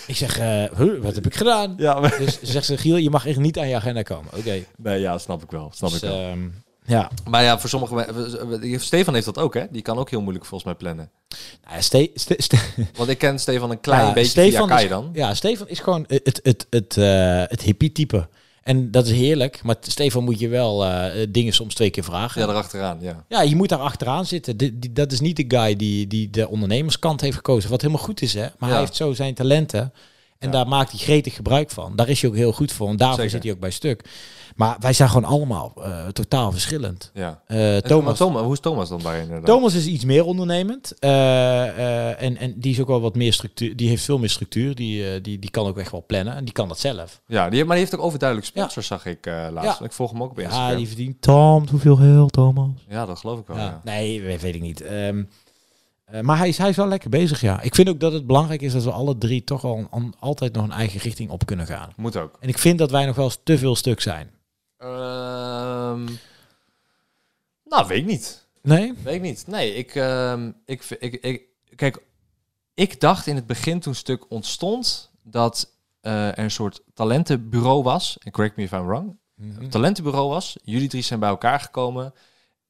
Speaker 2: Ik zeg, eh, huh, wat heb ik gedaan?
Speaker 1: Ja, maar-
Speaker 2: Dus zegt ze, Giel, je mag echt niet aan je agenda komen. Oké.
Speaker 1: nee, ja, snap ik wel. Snap
Speaker 2: Dus,
Speaker 1: ik wel.
Speaker 2: ehm, ja,
Speaker 1: eh, Maar ja, voor sommige mensen... Stefan heeft dat ook, hè? Die kan ook heel moeilijk volgens mij plannen.
Speaker 2: nou, ja, Ste- Ste- Ste-
Speaker 1: Want ik ken Stefan een klein
Speaker 2: ja,
Speaker 1: beetje
Speaker 2: Stefan
Speaker 1: via
Speaker 2: is-
Speaker 1: Kai dan.
Speaker 2: Ja, Stefan is gewoon het, het, het, het, eh, het hippie type. En dat is heerlijk. Maar Stefan moet je wel eh, dingen soms twee keer vragen.
Speaker 1: Ja, daarachteraan, ja.
Speaker 2: Ja, je moet daar achteraan zitten. Die, die- dat is niet de guy die, die de ondernemerskant heeft gekozen. Wat helemaal goed is, hè. Maar
Speaker 1: Ja.
Speaker 2: hij heeft zo zijn talenten. En daar maakt hij gretig gebruik van. Daar is hij ook heel goed voor. En daarvoor
Speaker 1: Zeker.
Speaker 2: zit hij ook bij stuk. Maar wij zijn gewoon allemaal eh, totaal verschillend.
Speaker 1: ja.
Speaker 2: Eh,
Speaker 1: En Thomas.
Speaker 2: Thomas,
Speaker 1: Thomas, hoe is Thomas dan daarin? inderdaad?
Speaker 2: Thomas is iets meer ondernemend. Eh, eh, en, en die is ook wel wat meer structuur. Die heeft veel meer structuur. Die, eh, die, die kan ook echt wel plannen. En die kan dat zelf.
Speaker 1: Ja, die, heeft- maar die heeft ook overduidelijk sponsors, zag ik eh, laatst.
Speaker 2: Ja.
Speaker 1: Ik volg hem ook op
Speaker 2: Ja,
Speaker 1: Instagram. Ja,
Speaker 2: die verdient. Tom, hoeveel geld, Thomas?
Speaker 1: dat geloof ik wel,
Speaker 2: Ja.
Speaker 1: Oh, ja.
Speaker 2: Nee, we- weet ik niet. Ehm, eh, maar hij is, hij is wel lekker bezig, ja. Ik vind ook dat het belangrijk is dat we alle drie toch al een- an- altijd nog een eigen richting op kunnen gaan.
Speaker 1: Moet ook.
Speaker 2: En ik vind dat wij nog wel eens te veel stuk zijn.
Speaker 1: Ehm, nou, weet ik niet.
Speaker 2: Nee?
Speaker 1: Weet ik niet. Nee, ik, ehm, ik, v- ik, ik... Kijk, ik dacht in het begin toen het stuk ontstond... dat eh, er een soort talentenbureau was. En correct me if I'm wrong.
Speaker 2: Hm.
Speaker 1: Een talentenbureau was. Jullie drie zijn bij elkaar gekomen...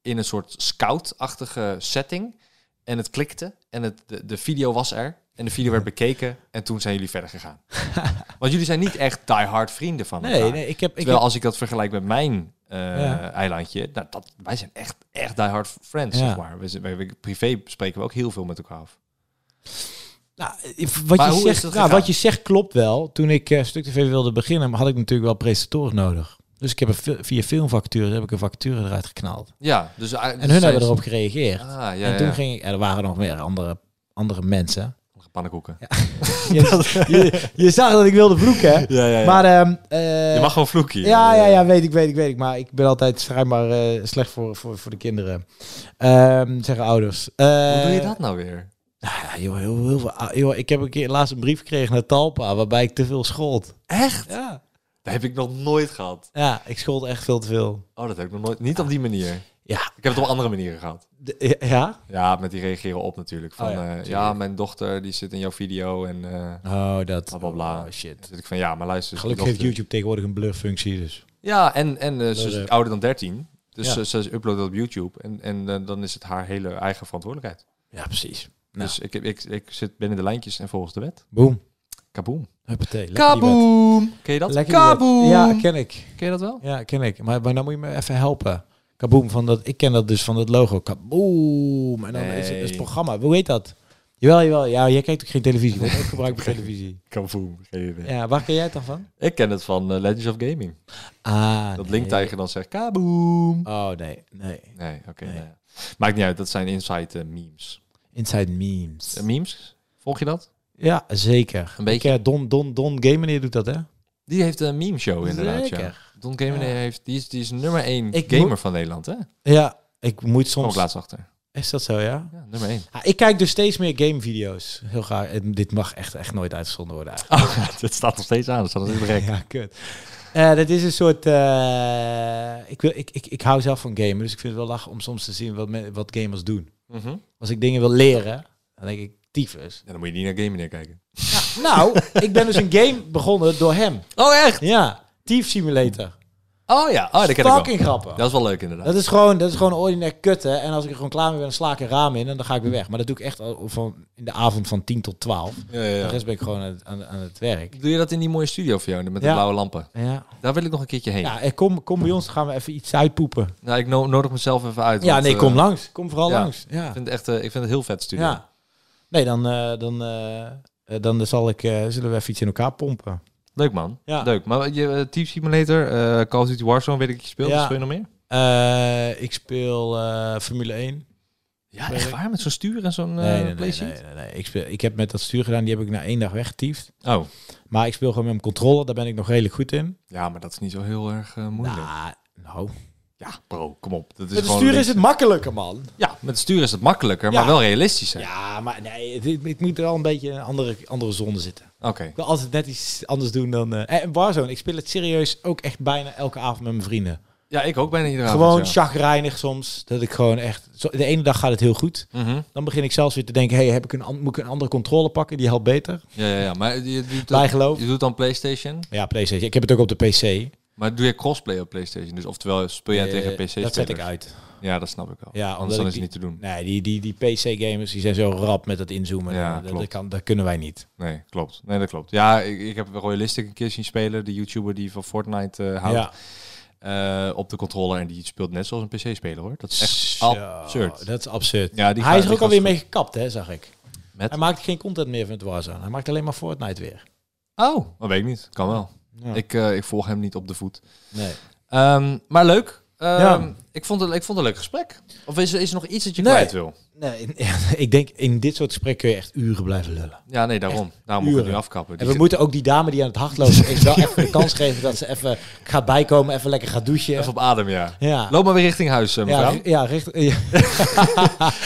Speaker 1: in een soort scout-achtige setting. En het klikte. En het, de, de video was er. En de video werd bekeken. En toen zijn jullie verder gegaan. Want jullie zijn niet echt die-hard vrienden van elkaar.
Speaker 2: Nee, nee, ik heb... Ik
Speaker 1: Terwijl
Speaker 2: heb-
Speaker 1: als ik dat vergelijk met mijn eh,
Speaker 2: Ja.
Speaker 1: eilandje, nou, dat, wij zijn echt, echt die hard friends,
Speaker 2: Ja.
Speaker 1: zeg maar. We, zijn- wij- wij- privé spreken we ook heel veel met elkaar af.
Speaker 2: nou, ik- wat,
Speaker 1: Maar
Speaker 2: je
Speaker 1: hoe is
Speaker 2: zegt,
Speaker 1: het
Speaker 2: nou,
Speaker 1: gegaan?
Speaker 2: wat je zegt klopt wel. Toen ik eh, Stuk TV wilde beginnen, had ik natuurlijk wel presentatoren nodig. Dus ik heb een, fil- via filmvacturen heb ik een vacature eruit geknald.
Speaker 1: Ja, dus... eh, dus
Speaker 2: En hun
Speaker 1: zij-
Speaker 2: hebben erop gereageerd.
Speaker 1: Ah, ja,
Speaker 2: en toen
Speaker 1: ja.
Speaker 2: ging ik... En er waren nog meer andere, andere mensen.
Speaker 1: Pannenkoeken. Ja,
Speaker 2: Je, je, je zag dat ik wilde vloeken, hè?
Speaker 1: ja, ja.
Speaker 2: Maar ehm, eh,
Speaker 1: je mag gewoon vloeken. hier.
Speaker 2: ja, ja, ja, weet ik, weet ik, weet ik. Maar ik ben altijd schijnbaar eh, slecht voor, voor, voor de kinderen. Ehm zeggen ouders.
Speaker 1: Hoe
Speaker 2: Eh,
Speaker 1: doe je dat nou weer?
Speaker 2: Nou ja, joh, heel, heel veel, ah, joh, ik heb een keer laatst een brief gekregen naar Talpa, waarbij ik te veel schold.
Speaker 1: Echt?
Speaker 2: Ja.
Speaker 1: Dat heb ik nog nooit gehad.
Speaker 2: Ja, ik schold echt veel te veel.
Speaker 1: Oh, dat heb ik nog nooit. Niet op die manier.
Speaker 2: Ja.
Speaker 1: Ik heb het op andere manieren gehad.
Speaker 2: de- ja?
Speaker 1: Ja, met die reageren op natuurlijk. Van,
Speaker 2: Oh ja,
Speaker 1: eh, ja,
Speaker 2: natuurlijk.
Speaker 1: mijn dochter die zit in jouw video en eh
Speaker 2: Oh, dat.
Speaker 1: bla bla bla.
Speaker 2: Oh, shit. Dus eh,
Speaker 1: Dan zit ik van, ja, maar luister.
Speaker 2: Gelukkig
Speaker 1: die
Speaker 2: heeft
Speaker 1: dochter-
Speaker 2: YouTube tegenwoordig een blurfunctie, dus.
Speaker 1: Ja, en, en eh, ze is
Speaker 2: Leuk.
Speaker 1: ouder dan 13. Dus
Speaker 2: Ja.
Speaker 1: ze, ze uploadt dat op YouTube. En, en eh, dan is het haar hele eigen verantwoordelijkheid.
Speaker 2: Ja, precies. Nou.
Speaker 1: Dus ik, heb- ik, ik zit binnen de lijntjes en volgens de wet.
Speaker 2: Boom.
Speaker 1: Kaboom.
Speaker 2: Huppatee. lekker die wet.
Speaker 1: Kaboom! Ken je dat?
Speaker 2: Lekker die wet.
Speaker 1: Kaboom!
Speaker 2: Ja, ken ik.
Speaker 1: Ken je dat wel?
Speaker 2: Ja, ken ik. Maar, maar dan moet je me even helpen. Kaboom, van dat, ik ken dat dus van dat logo. Kaboom. En dan is het is
Speaker 1: Nee.
Speaker 2: het programma. Hoe heet dat? Jawel, jawel. Ja, jij kijkt ook geen televisie. Wordt ook gebruikt voor televisie.
Speaker 1: Kaboom. Geen idee.
Speaker 2: Ja, waar ken jij het dan van?
Speaker 1: Ik ken het van eh, Legends of Gaming.
Speaker 2: Ah,
Speaker 1: Dat
Speaker 2: nee.
Speaker 1: linktijger dan zegt kaboom.
Speaker 2: Oh, nee, nee.
Speaker 1: Nee, oké.
Speaker 2: Nee.
Speaker 1: nou ja. Maakt niet uit, dat zijn inside eh, memes.
Speaker 2: Inside memes.
Speaker 1: Eh, memes, volg je dat?
Speaker 2: Ja, zeker.
Speaker 1: Een beetje.
Speaker 2: Ik, eh, Don, Don, Don Game meneer doet dat, hè?
Speaker 1: Die heeft een meme show inderdaad, ja.
Speaker 2: Zeker.
Speaker 1: Don Gamer
Speaker 2: Ja.
Speaker 1: heeft, die, is, die is nummer 1
Speaker 2: Ik
Speaker 1: gamer
Speaker 2: moet-
Speaker 1: van Nederland, hè?
Speaker 2: Ja, ik moet
Speaker 1: Kom ik
Speaker 2: soms...
Speaker 1: laatst achter.
Speaker 2: Is dat zo, ja?
Speaker 1: Ja, nummer 1.
Speaker 2: Ah, ik kijk dus steeds meer gamevideo's. Heel graag. En dit mag echt, echt nooit uitgezonden worden eigenlijk.
Speaker 1: Oh, dat staat nog steeds aan, dat staat nog steeds direct.
Speaker 2: Ja, kut. Eh, dat is een soort... eh, ik, wil, ik, ik, ik hou zelf van gamen, dus ik vind het wel lachen om soms te zien wat, me- wat gamers doen.
Speaker 1: Mhm.
Speaker 2: Als ik dingen wil leren, dan denk ik, tyfus.
Speaker 1: Ja, dan moet je niet naar Gamer neer kijken.
Speaker 2: Nou, ik ben dus een game begonnen door hem.
Speaker 1: Oh, echt?
Speaker 2: Ja, Thief Simulator.
Speaker 1: Oh ja, oh, dat ken ik wel.
Speaker 2: Fucking grappig.
Speaker 1: Dat is wel leuk inderdaad.
Speaker 2: Dat is gewoon, dat is gewoon ordinair kutten. En als ik er gewoon klaar mee ben, dan sla ik een raam in en dan ga ik weer weg. Maar dat doe ik echt al van in de avond van 10 tot 12.
Speaker 1: Ja, ja,
Speaker 2: De
Speaker 1: ja.
Speaker 2: rest ben ik gewoon aan, het- aan, aan het werk.
Speaker 1: Doe je dat in die mooie studio voor jou, met de
Speaker 2: Ja.
Speaker 1: blauwe lampen?
Speaker 2: Ja,
Speaker 1: Daar wil ik nog een keertje heen.
Speaker 2: ja en kom, kom bij ons, dan gaan we even iets uitpoepen.
Speaker 1: Nou, ik no- nodig mezelf even uit.
Speaker 2: Ja,
Speaker 1: want,
Speaker 2: nee,
Speaker 1: eh,
Speaker 2: kom langs. Kom vooral
Speaker 1: ja.
Speaker 2: langs. Ja.
Speaker 1: Ik vind het echt, eh, ik vind het heel vet studio.
Speaker 2: ja. Nee, dan, eh, dan, eh, eh, dan zal ik, eh, zullen we even iets in elkaar pompen.
Speaker 1: Leuk man.
Speaker 2: Ja.
Speaker 1: Leuk. Maar je eh, Team Simulator, eh, Call of Duty Warzone, weet ik dat je speelt.
Speaker 2: Ja.
Speaker 1: Wat speel je nog meer?
Speaker 2: Eh, ik speel eh, Formule 1.
Speaker 1: Ja,
Speaker 2: echt
Speaker 1: waar? Met zo'n stuur en zo'n eh,
Speaker 2: nee, nee, nee, nee, nee, nee. Ik, speel, ik heb met dat stuur gedaan, die heb ik na één dag weggetiefd.
Speaker 1: Oh.
Speaker 2: Maar ik speel gewoon met mijn controller, daar ben ik nog redelijk goed in.
Speaker 1: Ja, maar dat is niet zo heel erg eh, moeilijk.
Speaker 2: Nou, nou.
Speaker 1: Ja, bro, kom op. Dat is
Speaker 2: Met het
Speaker 1: gewoon
Speaker 2: stuur
Speaker 1: een
Speaker 2: is het makkelijker, man.
Speaker 1: beetje- Ja, met het stuur is het makkelijker, maar
Speaker 2: Ja.
Speaker 1: wel realistischer.
Speaker 2: Ja, maar nee, het, het- het moet wel een beetje in een andere, andere zone zitten.
Speaker 1: Oké.
Speaker 2: Ik wil altijd net iets anders doen dan... eh, en Warzone, ik speel het serieus ook echt bijna elke avond met mijn vrienden.
Speaker 1: Ja, ik ook bijna iedere
Speaker 2: gewoon
Speaker 1: avond. ja.
Speaker 2: chagrijnig soms. Dat ik gewoon echt... zo- De ene dag gaat het heel goed.
Speaker 1: Mhm.
Speaker 2: Dan begin ik zelfs weer te denken... Hey, heb ik een, an- moet ik een andere controle pakken? Die helpt beter.
Speaker 1: ja, ja, ja. Maar je doet, dat-
Speaker 2: Bijgeloof.
Speaker 1: je doet dan PlayStation,
Speaker 2: Ja, PlayStation. Ik heb het ook op de PC.
Speaker 1: maar doe je crossplay op PlayStation? Dus oftewel speel jij
Speaker 2: Eh,
Speaker 1: tegen PC
Speaker 2: Dat zet ik uit.
Speaker 1: Ja, dat snap ik wel.
Speaker 2: Ja, omdat
Speaker 1: Anders dan
Speaker 2: ik
Speaker 1: is het
Speaker 2: die-
Speaker 1: niet te doen.
Speaker 2: Nee, die, die, die PC-gamers die zijn zo rap met dat inzoomen.
Speaker 1: Ja,
Speaker 2: dat, dat,
Speaker 1: klopt.
Speaker 2: kan, dat kunnen wij niet.
Speaker 1: Nee, klopt. Nee, dat klopt. Ja, ik, ik heb Royalistic een keer zien spelen. De YouTuber die van Fortnite eh, houdt.
Speaker 2: Ja.
Speaker 1: eh, op de controller. En die speelt net zoals een PC-speler, hoor. Dat is echt
Speaker 2: Zo,
Speaker 1: absurd.
Speaker 2: Dat is absurd.
Speaker 1: Ja, die
Speaker 2: hij
Speaker 1: gaat-
Speaker 2: is
Speaker 1: die
Speaker 2: er ook alweer
Speaker 1: gaat
Speaker 2: mee gekapt, hè, zag ik.
Speaker 1: Met?
Speaker 2: Hij maakt geen content meer van het Warzone. Hij maakt alleen maar Fortnite weer.
Speaker 1: Oh, dat weet ik niet. Kan wel.
Speaker 2: Ja.
Speaker 1: Ik, eh, ik volg hem niet op de voet.
Speaker 2: Nee.
Speaker 1: Ehm, maar leuk. Ehm,
Speaker 2: Ja.
Speaker 1: ik, vond het, ik vond het een leuk gesprek. Of is, er- is er nog iets dat je
Speaker 2: Nee.
Speaker 1: kwijt wil?
Speaker 2: nee, ik denk in dit soort gesprekken kun je echt uren blijven lullen.
Speaker 1: Ja, nee, daarom. daarom moet ik het nu
Speaker 2: uren.
Speaker 1: afkappen.
Speaker 2: En
Speaker 1: Die
Speaker 2: we
Speaker 1: zit-
Speaker 2: moeten ook die dame die aan het hardlopen is wel even de kans geven dat ze even gaat bijkomen, even lekker gaat douchen.
Speaker 1: Even op adem, ja.
Speaker 2: ja.
Speaker 1: Loop maar weer richting huis, eh,
Speaker 2: Ja,
Speaker 1: mevrouw.
Speaker 2: ri- ja, richt, ja,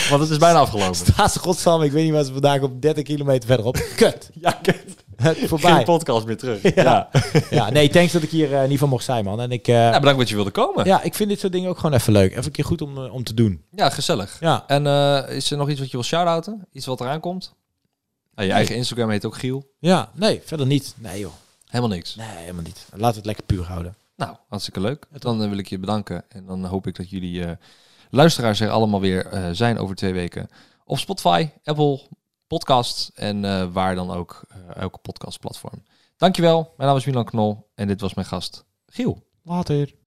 Speaker 1: Want het is bijna afgelopen.
Speaker 2: staat ze godsam, ik weet niet waar ze vandaag op 30 kilometer verderop. Kut,
Speaker 1: Ja, kut. Geen
Speaker 2: voorbij.
Speaker 1: podcast meer terug. Ja.
Speaker 2: Ja. ja, nee, thanks dat ik hier eh, niet van mocht zijn, man. En ik, eh,
Speaker 1: Ja, bedankt dat je wilde komen.
Speaker 2: ja, ik vind dit soort dingen ook gewoon even leuk. Even een keer goed om, eh, om te doen.
Speaker 1: ja gezellig.
Speaker 2: Ja,
Speaker 1: En eh, is er nog iets wat je wil shout-outen? Iets wat eraan komt? Nou, je eigen Instagram heet ook Giel.
Speaker 2: ja, nee, verder niet. Nee, joh.
Speaker 1: Helemaal niks.
Speaker 2: Nee, helemaal niet. Laat het lekker puur houden.
Speaker 1: Nou, hartstikke leuk. Dan eh, wil ik je bedanken. En dan hoop ik dat jullie eh, luisteraars er allemaal weer eh, zijn over twee weken. Op Spotify, Apple Podcasts en eh, waar dan ook. eh, elke podcastplatform. Dankjewel. Mijn naam is Milan Knol en dit was mijn gast Giel.
Speaker 2: Later.